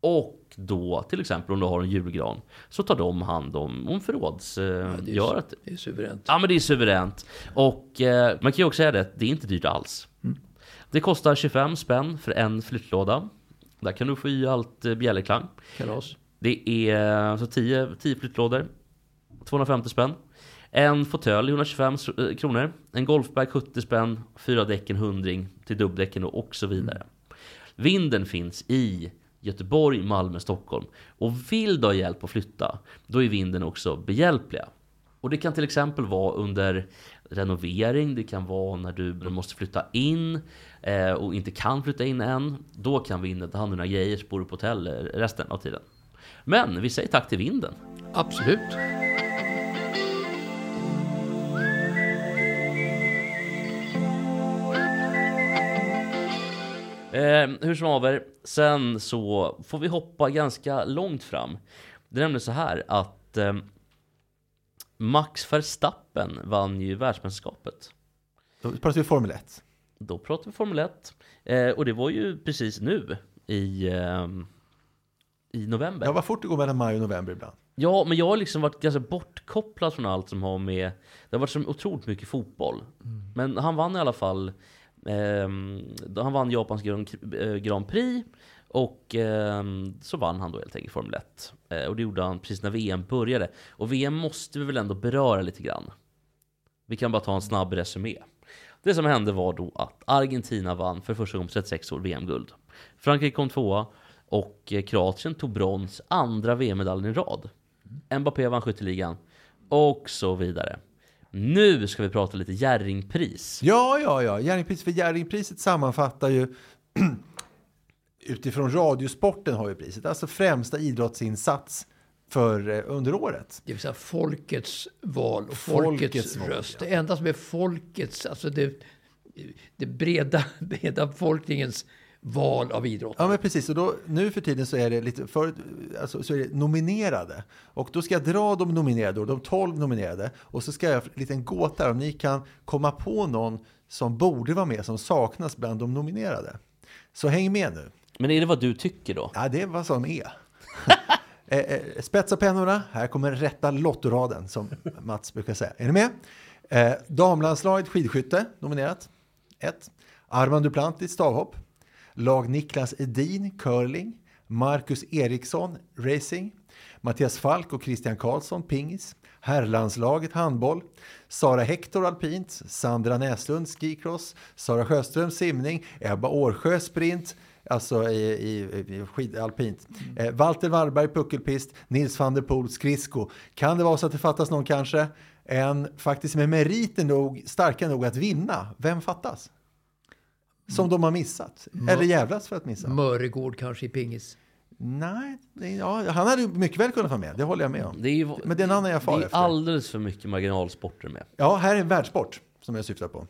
Och då, till exempel om du har en julgran, så tar de hand om, om förrådsgöret. Det är, Eh, ju- gör att- det är ju suveränt. Ja men det är suveränt. Och eh, man kan ju också säga det, det är inte dyrt alls. Mm. Det kostar 25 spänn för en flyttlåda. Där kan du få i allt eh, bjällerklang. Kalas. Det är så 10, 10 flyttlådor. 250 spänn. En fåtölj 125 s- eh, kronor. En golfbag 70 spänn. Fyra däcken 100 till dubbdäcken och och så vidare. Vinden finns i Göteborg, Malmö, Stockholm. Och vill du ha hjälp att flytta, då är vinden också behjälpliga. Och det kan till exempel vara under renovering, det kan vara när du måste flytta in eh, och inte kan flytta in än. Då kan vinden ta hand om dina grejer så bor du på hotell eh, resten av tiden. Men vi säger tack till vinden. Absolut. Eh, hur som haver, sen så får vi hoppa ganska långt fram. Det är nämligen så här att eh, Max Verstappen vann ju världsmästerskapet. Då pratar vi Formel 1. Då pratar vi Formel 1. Eh, och det var ju precis nu i, ehm, i november. Ja, vad fort det går mellan maj och november ibland. Ja, men jag har liksom varit ganska bortkopplad från allt som har med... Det har varit så otroligt mycket fotboll. Men han vann i alla fall... ehm, då han vann Japans Grand, eh, Grand Prix. Och ehm, så vann han då helt enkelt Formel 1. Eh, och det gjorde han precis när VM började. Och VM måste vi väl ändå beröra lite grann. Vi kan bara ta en snabb resumé. Det som hände var då att Argentina vann för första gången på 36 år VM-guld. Frankrike kom tvåa och eh, Kroatien tog brons, andra VM-medaljen i rad. Mbappé vann skytteligan och så vidare. Nu ska vi prata lite Jerringpris. Ja, ja, ja. Jerringpriset, för Jerringpriset sammanfattar ju [clears throat] utifrån radiosporten har ju priset, alltså främsta idrottsinsats för, eh, under året. Det vill säga folkets val och folkets, Folkets val, röst. Det enda som är folkets, alltså det, det breda, [laughs] breda befolkningens val av idrott. Ja, men precis. Och då, nu för tiden så är det lite för, alltså, så är det nominerade. Och då ska jag dra de nominerade, och de 12 nominerade. Och så ska jag göra en liten gåta här, om ni kan komma på någon som borde vara med, som saknas bland de nominerade. Så häng med nu. Men är det vad du tycker då? Ja, det är vad som är. [laughs] eh, eh, spetsa pennorna, här kommer rätta lottoraden som Mats brukar säga. Är ni med? Eh, damlandslaget skidskytte, nominerat. 1. Armand Duplantis, stavhopp. Lag Niklas Edin, curling. Marcus Eriksson, racing. Mattias Falk och Christian Karlsson, pingis. Herrlandslaget handboll. Sara Hector alpint. Sandra Näslund skicross. Sara Sjöström simning. Ebba Årsjö sprint. Alltså i, i, i skid, alpint. Mm. Eh, Walter Warberg puckelpist. Nils van der Poel skridsko. Kan det vara så att det fattas någon kanske? En faktiskt med meriter nog, starka nog att vinna. Vem fattas? Som de har missat. Mm. Eller jävlas för att missa. Möregård kanske i pingis. Nej, det- ja, han hade ju mycket väl kunnat vara med. Det håller jag med om. Det är ju, Men det är en annan jag far Det är efter. alldeles för mycket marginalsporter med. Ja, här är en världssport som jag syftar på.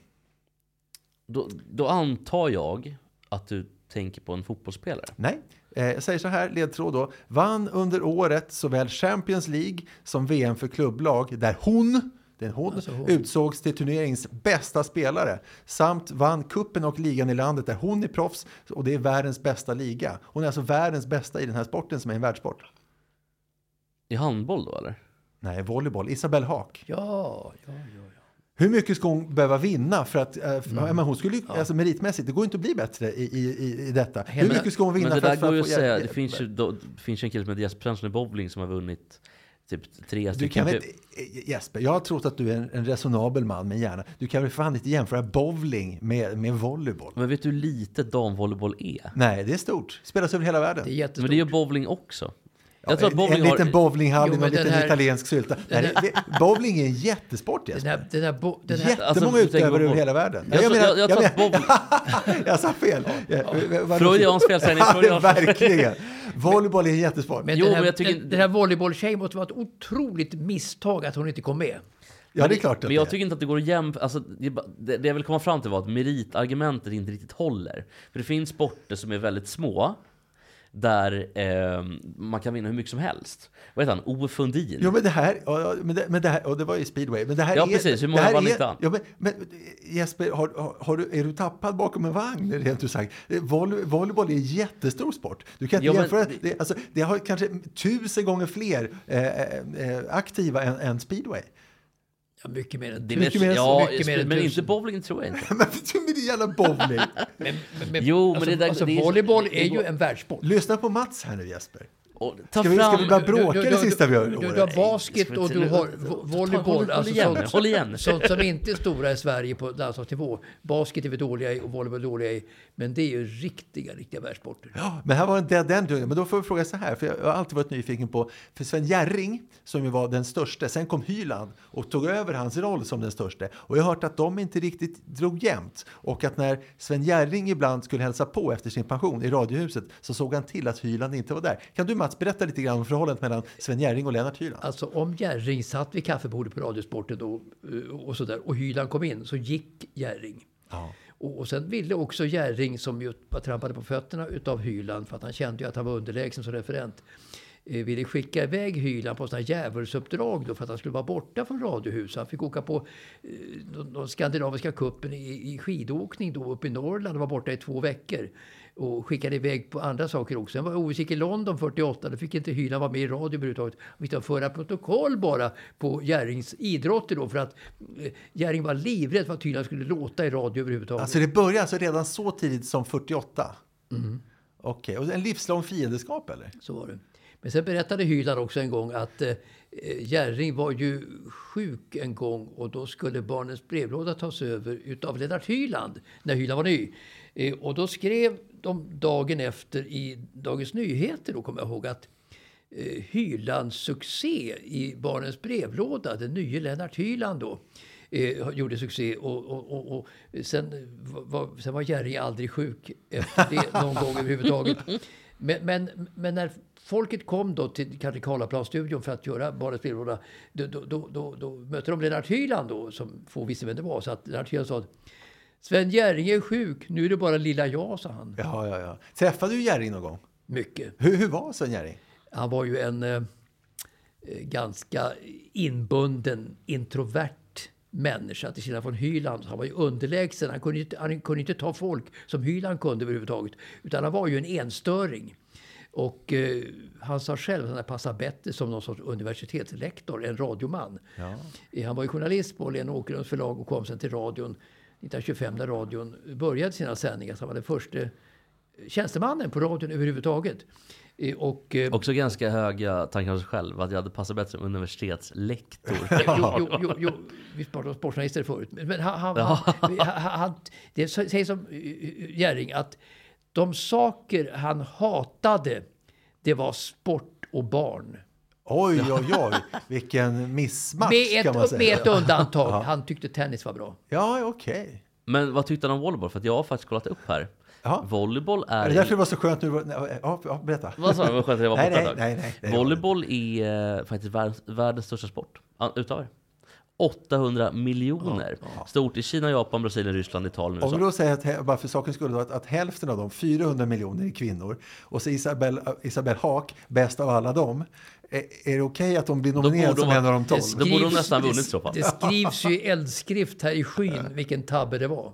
Då, då antar jag att du tänker på en fotbollsspelare. Nej, eh, jag säger så här, ledtråd då. Vann under året såväl Champions League som VM för klubblag där hon, det är en hon, Alltså utsågs till turneringens bästa spelare. Samt vann kuppen och ligan i landet där hon är proffs och det är världens bästa liga. Hon är alltså världens bästa i den här sporten som är en världssport. I handboll då eller? Nej, volleyboll. Isabelle Haak. Ja, ja, ja. Hur mycket ska hon behöva vinna för att, eh, för, Mm. ja, men hon skulle ju, alltså meritmässigt, det går inte att bli bättre i, i, i, i detta. Hur Hela- mycket ska hon vinna Men det för där att, för går ju att att få säga. hjälp? Det finns ju, då, det finns ju en kille som heter Jesper Svensson i bowling som har vunnit typ tre Du stycken. kan väl, pub- eh, Jesper, jag har trott att du är en, en resonabel man med hjärna. Du kan väl fan inte jämföra bowling med, med volleyboll? Men vet du hur lite damvolleyboll är? Nej, det är stort. Spelas över hela världen. Det är Men jättestort. det är ju bowling också. Ja, Jag tror att en, en bowling liten har... bowlinghall och Jo, en men den liten här- italiensk sylta. Nej, det, det, bowling är en jättesport, den Jesper. här, den här, bo, den här, Jättemånga Alltså, du tänker på utövare över boll- hela världen. Jag tror- jag- jag tror att menar- jag sa fel. Eh, [laughs] Ja. Freudiansk felsägning, freudiansk Verkligen. Volleyboll är en jättesport. men Jo, den här, men jag tycker- den, den här volleybolltjejen måste vara ett otroligt misstag att hon inte kom med. ja, det är klart att Men jag det är. tycker inte att det går att jämföra. Alltså, det, är bara- det, det jag vill komma fram till var att meritargumentet inte riktigt håller. För det finns sporter som är väldigt små. Där eh, man kan vinna hur mycket som helst. Vad heter han? Ove Fundin. Jo, men det här, ja, ja, men det, men det här, och det var ju speedway. Men det här Ja, är, precis. Hur många det här vann är- inte han? Ja, men, men Jesper, har, har, har du, är du tappad bakom en vagn, rent ut sagt? Eh, Volley, volleyboll är en jättestor sport. Du kan inte Jo, men- jämföra. Det, alltså, det har kanske tusen gånger fler eh, eh, aktiva än, än speedway. [laughs] Ja, mycket mer än det tusen. vet, mycket mer än- ja, mycket mer än men inte tusen. bowling tror jag [laughs] inte. Men det är jävla bowling. Men- Jo, men alltså, det där- alltså, det är- volleyboll är, det går- ju en världssport. Lyssna på Mats här nu, Jesper. Och, ta Ska vi, ska fram... vi börja bråka Du- du- det du- sista vi du- gör? Du, året? du har basket och du har vo- volleyboll. Håll, håll Alltså igen nu, sånt, håll igen nu. [laughs] sånt som inte är stora i Sverige på landslagsnivå. Basket är vi dåliga i och volleyboll är dåliga i. Men det är ju riktiga, riktiga världssporter. Ja, men här var en dead end. Men då får vi fråga så här, för jag har alltid varit nyfiken på, för Sven Jerring, som ju var den största, sen kom Hyland och tog över hans roll som den största. Och jag har hört att de inte riktigt drog jämnt. Och att när Sven Jerring ibland skulle hälsa på efter sin pension i Radiohuset så såg han till att Hyland inte var där. Kan du Mats berätta lite grann om förhållandet mellan Sven Jerring och Lennart Hyland? Alltså om Jerring satt vid kaffebordet på Radiosporten då, eh, och sådär och Hyland kom in så gick Jerring. Och, och sen ville också Jerring som ju var trampade på fötterna utav Hyland för att han kände ju att han var underlägsen som referent. eh, Ville skicka iväg Hyland på sådana djävulsuppdrag då för att han skulle vara borta från Radiohuset. Han fick åka på eh, de- de skandinaviska cupen i, i skidåkning då uppe i Norrland och var borta i två veckor. och skickade iväg på andra saker också. Sen var jag osäker i London 48. Då fick inte Hyland vara med i radio överhuvudtaget. Vi fick föra protokoll bara på Jerrings idrotter då för att eh, Jerring var livrädd för att Hyland skulle låta i radio överhuvudtaget. Alltså det började alltså redan så tidigt som 48? Okej, och en livslång fiendeskap eller? Så var det. Men sen berättade Hyland också en gång att eh, Jerring var ju sjuk en gång och då skulle barnens brevlåda tas över utav Lennart Hyland när Hyland var ny. Eh, och då skrev de dagen efter i Dagens Nyheter, då kommer jag ihåg, att eh, Hylands succé i Barnens brevlåda, den nye Lennart Hyland då, eh, gjorde succé. Och, och, och, och sen var, sen var Jerry aldrig sjuk efter det någon gång överhuvudtaget. Men, men, men när folket kom då till kanske Karlaplanstudion för att göra Barnens brevlåda, då, då, då, då, då mötte de Lennart Hyland då, som få visste vem det var. Så att Lennart Hyland sa att Sven Jerring är sjuk, nu är det bara lilla jag, sa han. Ja, ja, ja. Träffade du Jerring någon gång? Mycket. Hur, hur var Sven Jerring? Han var ju en eh, eh, ganska inbunden, introvert människa till skillnad från Hyland. Han var ju underlägsen. Han kunde, inte- han kunde inte ta folk som Hyland kunde överhuvudtaget. Utan han var ju en enstöring. Och eh, han sa själv att han passar bättre som någon sorts universitetslektor än radioman. Eh, Han var ju journalist på Lena Åkerlunds förlag och kom sen till radion 1925 när radion började sina sändningar. Så han var den första tjänstemannen på radion överhuvudtaget. Eh, Och, eh, Också ganska höga tankar om sig själv. Att jag hade passat bättre som universitetslektor. Jo, jo, jo, jo, vi pratade om sportjournalister förut. Men men han, han, han, han, han, det sägs som eh, eh, Jerring att de saker han hatade, det var sport och barn. Oj, oj, oj. Vilken missmatch Med kan man ett, med säga. ett undantag. Han tyckte tennis var bra. Ja, okej. Men vad tyckte han om volleyboll? För att jag har faktiskt kollat upp här. Ja. Volleyboll är... Är det därför det var så skönt nu? Nej, Ja, ja berätta. Vad sa du? Vad skönt att jag var Nej, borta nej, ett tag. nej, nej, det var Volleyboll är eh, faktiskt världens, världens största sport. An- Utav det. 800 miljoner. Stort i Kina, Japan, Brasilien, Ryssland, Italien, Om vi USA. då säger, att, hä- bara för sakens skull, då, att, att hälften av dem, 400 miljoner, är kvinnor och så Isabel, Isabel Haak, bäst av alla dem. Är, är det okej att de blir nominerade borde som vara- en av de tolv? Det Då borde de skrivs- nästan ha vunnit det- i så fall. Det skrivs ju i eldskrift här i skyn vilken tabbe det var.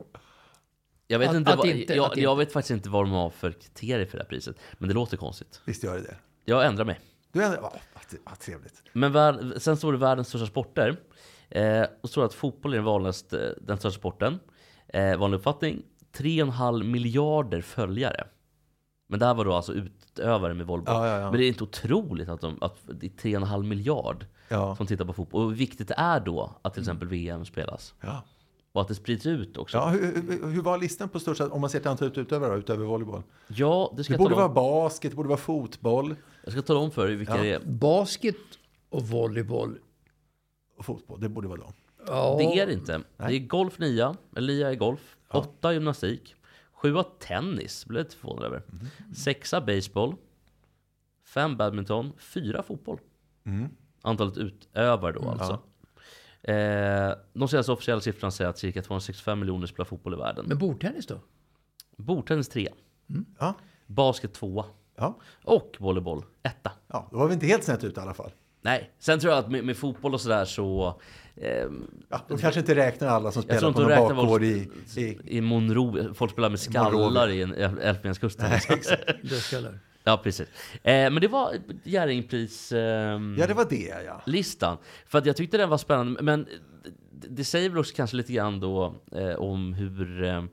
Jag vet, Att- inte att vad, inte- jag, att jag inte. vet faktiskt inte vad de har för kriterier för det här priset. Men det låter konstigt. Visst gör det det? Jag ändrar mig. Du är, ja, vad- vad trevligt. Men vär, sen står det världens största sporter. Eh, och står att fotboll är den, vanligaste, den största sporten. Eh, vanlig uppfattning. 3,5 miljarder följare. Men det här var då alltså utövare med volleyboll. Ja, ja, ja. Men det är inte otroligt att, de, att det är 3,5 miljard Ja. Mm. som tittar på fotboll. Och hur viktigt det är då att till exempel VM spelas. Ja. Och att det sprids ut också. Ja, Ja, hur, hur- hur var listan på största, om man ser till antalet utövare då, utöver volleyboll? det ska Det jag borde tala vara om. basket, det borde vara fotboll Jag ska tala om för er vilka det är. Basket och volleyboll. och fotboll. Det borde vara dem. Ja, Det är det inte. Det är golf nia, eller nia är golf. Åtta gymnastik. Sjua tennis, blev jag lite förvånad över. Sexa baseball. Fem badminton. Fyra fotboll. Antalet utövare då alltså. Eh, de senaste officiella siffrorna säger att cirka 265 miljoner spelar fotboll i världen. Men bordtennis då? Bordtennis trea. Ja. Basket tvåa. Ja. Och volleyboll etta. ja, då var vi inte helt snett ute i alla fall. Nej, sen tror jag att med, med fotboll och sådär så... ehm, Ja, de kanske inte räknar alla som Jag tror spelar på inte de någon räknar bakgård vad i, i... i Monroe, folk spelar med skallar Monrovia. i en Äl- Elfenbenskusten. Dödskallar. Ja, precis. Eh, men det var Jerringpris-listan. Ja, det var det ja. För att jag tyckte den var spännande. Men det- det säger väl också kanske lite grann då eh, om hur... Eh,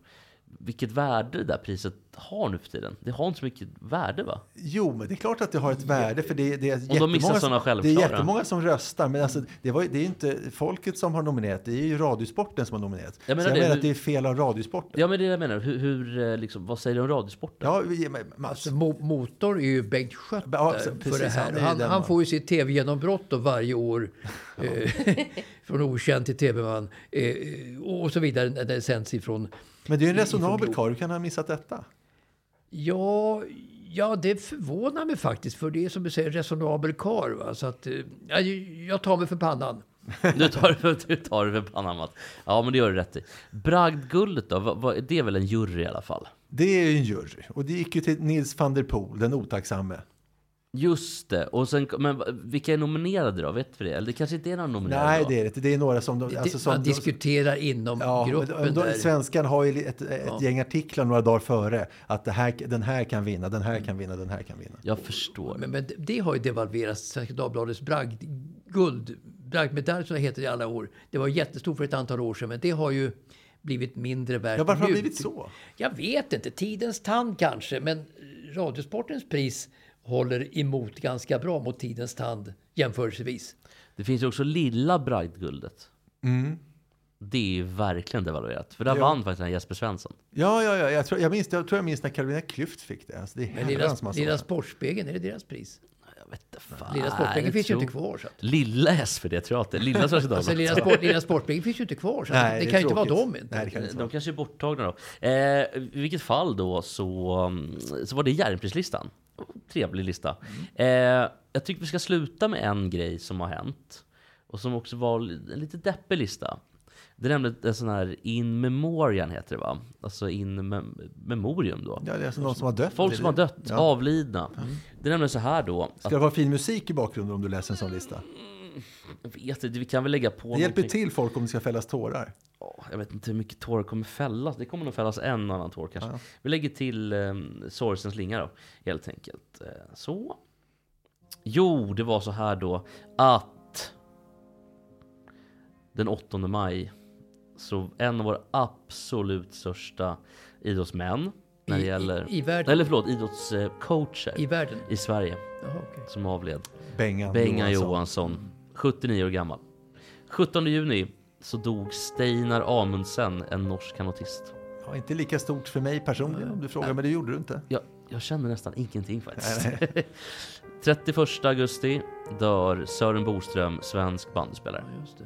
vilket värde det där priset har nu för tiden. Det har inte så mycket värde va? Jo, men det är klart att det har ett värde för det, det är missar jättemånga sådana som, det är självklara. jättemånga som röstar. Men alltså, det, var, ju- det är ju inte folket som har nominerat, det är ju Radiosporten som har nominerat. Jag menar Så jag det, menar hur- att det är fel av Radiosporten. Ja men det är det jag menar. Hur, hur eh, liksom, vad säger du om radiosporten? [laughs] Ja, vi- men- men alltså, Alltså, mo- motor är ju Bengt Schött Ja, där så- för precis, det han här. är ju Han, den han man- får ju sitt tv-genombrott då varje år. [laughs] eh, [laughs] från okänd till tv-man. Eh, och så vidare när det sänds ifrån. men det är ju en resonabel karl, hur kan han ha missat detta? Ja, ja, det förvånar mig faktiskt. För det är som du säger en resonabel karl. va. Så att, eh, ja, jag tar mig för pannan. Du tar det för, du tar det för Panama. Ja men det gör du rätt i. Bragdguldet då? Vad- vad- det är väl en jury i alla fall? Det är ju en jury, och det gick ju till Nils van der Poel, den otacksamme. Just det. Och sen, men vilka är nominerade då? Vet vi det? Eller det kanske inte är några nominerade Nej, då? det är det inte. Det är några som... De, Det- alltså, som man de- diskuterar inom Ja, men gruppen de, där. svenskan har ju ett, ett gäng artiklar några dagar före. Att det här, den här kan vinna, den här kan vinna, den här kan vinna. Jag förstår. Men, men det har ju devalverats, Svenska Dagbladets bragd, guld, bragdmedalj som det heter i alla år. Det var jättestort för ett antal år sedan, men det har ju blivit mindre värt Ja, varför har det nu. blivit så? Jag vet inte, tidens tand kanske, men Radiosportens pris håller emot ganska bra mot tidens tand jämförelsevis. Det finns ju också lilla Bragdguldet. Mm. Det är ju verkligen devalverat. För där vann faktiskt den här Jesper Svensson. Ja, ja, ja. Jag tror jag minns, jag tror jag minns när Carolina Klyft fick det. Alltså, det är Men herrans Lilla, massa lilla år. Sportspegeln, är det deras pris? Jag vet inte fan. Lilla Sportspegeln jag finns ju inte tror- kvar. Så att. Lilla SvD tror jag inte. Lilla Svenska Dagbladet. Alltså, lilla, sport, lilla Sportspegeln finns ju inte kvar. Så att Nej, det, det är kan ju inte vara tråkigt. dem. Inte. Nej, det kan inte De vara. kanske är borttagna då. Eh, I vilket fall då så, um, så var det Järnprislistan. Trevlig lista. Eh, jag tycker vi ska sluta med en grej som har hänt. Och som också var li- en lite deppig lista. Det är nämligen en sån här in memoriam heter det va? Alltså in mem- memorium då. Ja, det är alltså någon som har dött. Folk som har dött, Ja. avlidna. Det är nämligen så här då. Att, Ska det vara fin musik i bakgrunden om du läser en sån lista? jag vet inte, vi kan väl lägga på Det hjälper någonting. till folk om det ska fällas tårar. Ja, Jag vet inte hur mycket tårar kommer fällas. Det kommer nog fällas en annan tår kanske. Vi lägger till eh, sorgsens slinga då, helt enkelt. Eh, så. Jo, det var så här då att den 8 maj så en av våra absolut största idrottsmän när det I- i- gäller... i världen. Eller förlåt, idrottscoacher I världen. i Sverige Jaha, okej. som avled. Bengan, Bengan alltså. Johansson. Johansson, 79 år gammal. 17 juni så dog Steinar Amundsen, en norsk kanotist. Ja, inte lika stort för mig personligen om du frågar, men det gjorde du inte. Jag, jag känner nästan ingenting faktiskt. [laughs] 31 augusti dör Sören Boström, svensk bandspelare. Just det.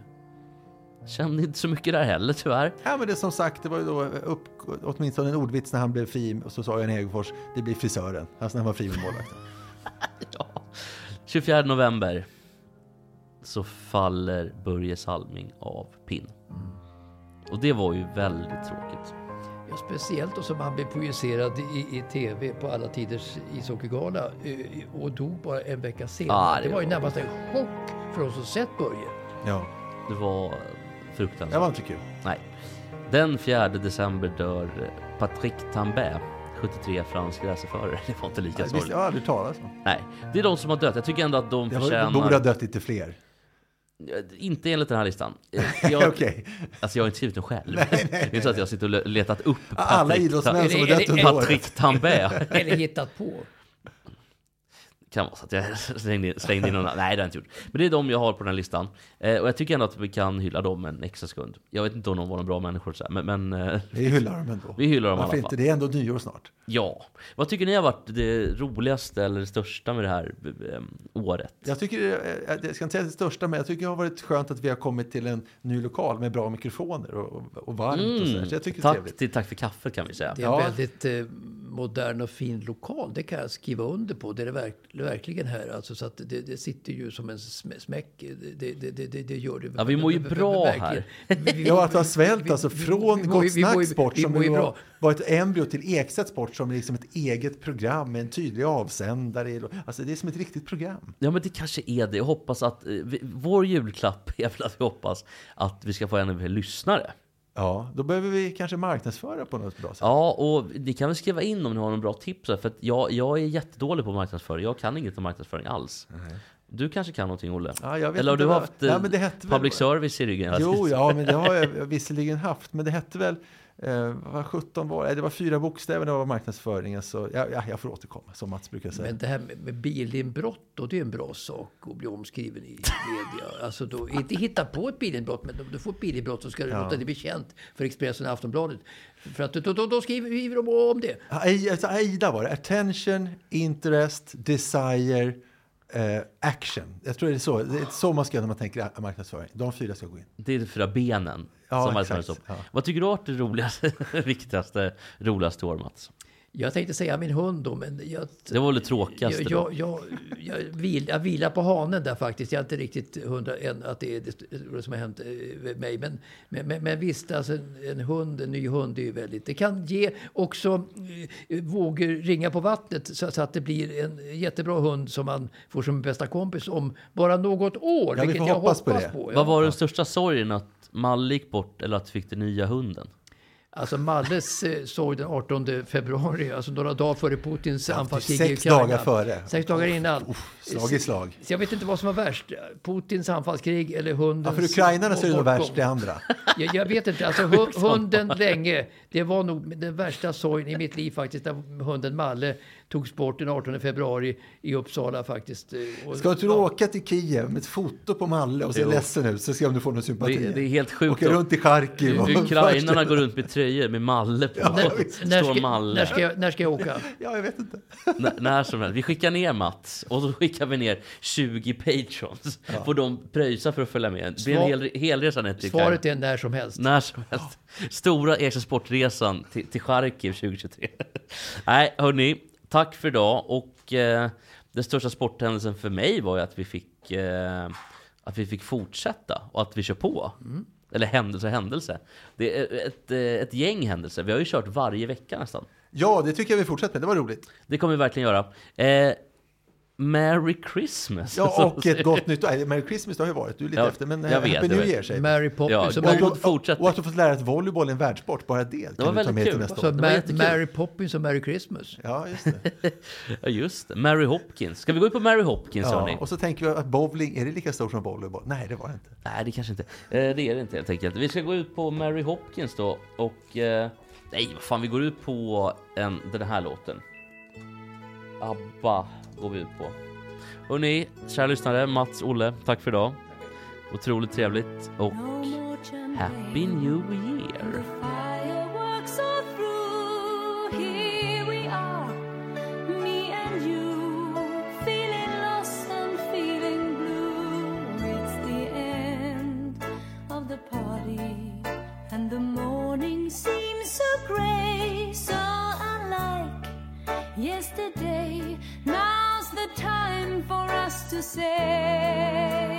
Kände inte så mycket där heller tyvärr. Ja, men det är som sagt, det var ju då upp, åtminstone en ordvits när han blev fri, och så sa Jan Hegerfors, det blir frisören. Alltså när han var fri med målvakten. Ja. 24 november så faller Börje Salming av pinn. Mm. Och det var ju väldigt tråkigt. Ja, speciellt och som han blev projicerad i, i tv på alla tiders ishockeygala eh, och dog bara en vecka senare. Ja, det, det var ju var- närmast en chock för oss som sett [laughs] Börje. Ja, Det var det fruktansvärt. var inte kul. Nej. Den 4 december dör Patrick Tambay, 73 fransk racerförare. [laughs] Det var inte lika Jag, visst, sorgligt. jag har aldrig talat om. Nej, det är de som har dött. Jag tycker ändå att de Jag var- borde ha förtjänar... dött lite fler. Inte enligt den här listan. [laughs] Eh, Jag, Okej. Alltså jag har inte skrivit den [laughs] själv. det är inte så att jag sitter och le- letat upp Patrick, Alla Ta- idrottsmän som har Är det- är dött det- under året. Patrick Tambay. [laughs] Eller hittat på. kan vara så att jag slängde in, slängde in någon annan. Nej, det har jag inte gjort. Men det är de jag har på den här listan. Eh, och jag tycker ändå att vi kan hylla dem en extra sekund. Jag vet inte om de var några bra människor, så här, men, men eh, Vi hyllar dem ändå. vi hyllar dem i alla Varför fall. inte? Det är ändå nyår snart. Ja. Vad tycker ni har varit det roligaste eller det största med det här ehm, året? Jag tycker, eh, eh, jag ska inte säga det största, men jag tycker det har varit skönt att vi har kommit till en ny lokal med bra mikrofoner och, och- och varmt och sådär. Så Mm. jag tycker det är Mm, Tack, trevligt. till, tack för kaffet kan vi säga. Det är en Ja. väldigt eh, modern och fin lokal. Det kan jag skriva under på. Det är det verk, verkligen här. Alltså, så att det, det sitter ju som en sm- smäck. Det, det, det, det, det gör det. Ja, vi mår ju bra Verkligen. Vi- vi- Ja, att ha svält vi- alltså vi- från vi mår ju- Gott vi mår ju- Snacks sport vi som mår ju ju bra. var, var ett embryo till Eksets sport som är liksom ett eget program med en tydlig avsändare. Alltså det är som ett riktigt program. Ja men det kanske är det. Jag hoppas att eh, vi, vår julklapp [laughs] är väl att vi hoppas att vi ska få ännu fler lyssnare. Ja, då behöver vi kanske marknadsföra på något bra sätt. Ja och ni kan väl skriva in om ni har någon bra tips här, för att jag, jag är jättedålig på marknadsföring. Jag kan inget om marknadsföring alls. Du kanske kan någonting Olle? Ja, jag vet Eller har inte du vad- haft Ja, eh, men det hette väl- public service i ryggen? hela Jo, tiden? ja, men det har jag visserligen haft, men det hette väl Eh, vad 17 var det? Det var fyra bokstäver när det var marknadsföringen. Så ja, ja, jag får återkomma, som Mats brukar säga. Men det här med, med bilinbrott då, det är en bra sak att bli omskriven i media. Alltså då, inte hitta på ett bilinbrott, men om du får ett bilinbrott så ska du låta det bli känt för Expressen och Aftonbladet. För att då, då, då skriver skriver de om det. Ai- Alltså, AIDA var det. Attention, interest, desire, eh, action. Jag tror det är så. Det är så man ska göra när man tänker marknadsföring. De fyra ska gå in. Det är de fyra benen. Ja, som exakt, exakt, upp. ja. [laughs] Vad tycker du har varit det roligaste, viktigaste, roligaste år Mats? Jag tänkte säga min hund då, men jag... Det var väl det tråkigaste jag, jag, jag, jag, vil, jag vilar på hanen där faktiskt. Jag är inte riktigt hundra än att det är det stora som har hänt eh, mig. Men, men, men, men visst, alltså en, en hund, en ny hund, det är ju väldigt... Det kan ge också eh, vågor ringa på vattnet så, så att det blir en jättebra hund som man får som bästa kompis om bara något år. Ja, vi vilket får jag hoppas hoppas på på. det. ja. Vad var den största sorgen? Att Malle gick bort eller att du fick den nya hunden? Alltså Malles eh, sorg den 18 februari, alltså några dagar före Putins anfallskrig i typ sex Ukraina. dagar före. Sex dagar innan. slag i slag. Så jag vet inte vad som var värst. Putins anfallskrig eller hundens Ja, för ukrainarna så är det nog bortgång. värst det andra. Jag, jag vet [laughs] inte. Alltså, hu- hunden länge. Det var nog den värsta sorgen i mitt liv faktiskt. När hunden Malle togs bort den 18 februari i Uppsala faktiskt. eh, och- Ska du åka till Kiev med ett foto på Malle och se ledsen ut så se om du får någon sympati? Det- det är helt sjukt. Åka runt i Charkiv. [laughs] och- Ukrainarna går runt med tröjor med Malle på. när, Står ska, Malle. när, ska jag, när ska jag åka? Ja, jag vet inte. N- när som helst. Vi skickar ner Mats och då skickar vi ner 20 patrons. Får de pröjsa för att följa med. Det blir en hel, helresa ner till Ukraina. Svaret är när som [laughs] helst. När som helst. Stora Ersta Sportresan till, till Charkiv 2023. [laughs] Nej, hörni. Tack för idag. Och eh, den största sporthändelsen för mig var ju att vi fick, eh, att vi fick fortsätta och att vi kör på. Mm. Eller händelse och händelse. Det är ett, eh, ett gäng händelser. Vi har ju kört varje vecka nästan. Ja, det tycker jag vi fortsätter med. Det var roligt. Det kommer vi verkligen göra. Eh, Merry Christmas! [laughs] Ja, och ett gott nytt år. Nej, Merry Christmas det har ju varit. Du är lite Ja, efter. Men jag eh, vet, Happy jag New vet. Year säger vi. Mary Poppins. Ja, som men- är- God fortsättning. och att du fått lära dig att volleyboll är en världssport. Bara det, kan du ta väldigt med till kul. nästa Så år. Det var Ma- jättekul. Mary Poppins och Merry Christmas. Ja, just det. Ja, just det. Mary Hopkins. Ska vi gå in på Mary Hopkins, Ja, hörni? och så tänker vi att bowling, är det lika stort som volleyboll? Nej, det var det inte. Nej, det kanske inte. Eh, det är det inte helt enkelt. Vi ska gå ut på Mary Hopkins då och... Eh, nej, vad fan, vi går ut på en, den här låten. ABBA går vi ut på. Hörni, kära lyssnare, Mats, Olle, tack för idag. Otroligt trevligt och Happy New Year! Fireworks are through. Here we are, me and you, feeling lost and feeling blue. It's the end of the party, and the morning seems so grey, so unlike yesterday. Now's the time for us to say.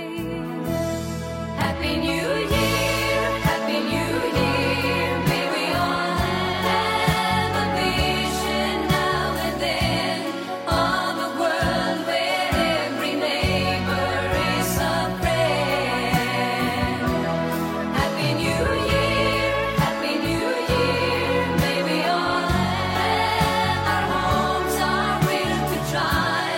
Happy New Year, Happy New Year. May we all have a vision now and then of a world where every neighbor is a friend. Happy New Year, Happy New Year. May we all have our homes, our will to try.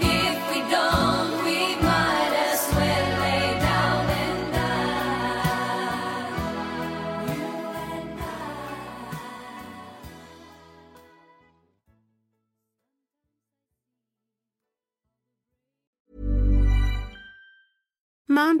If we don't, we might as well lay down and die. You and I. Mom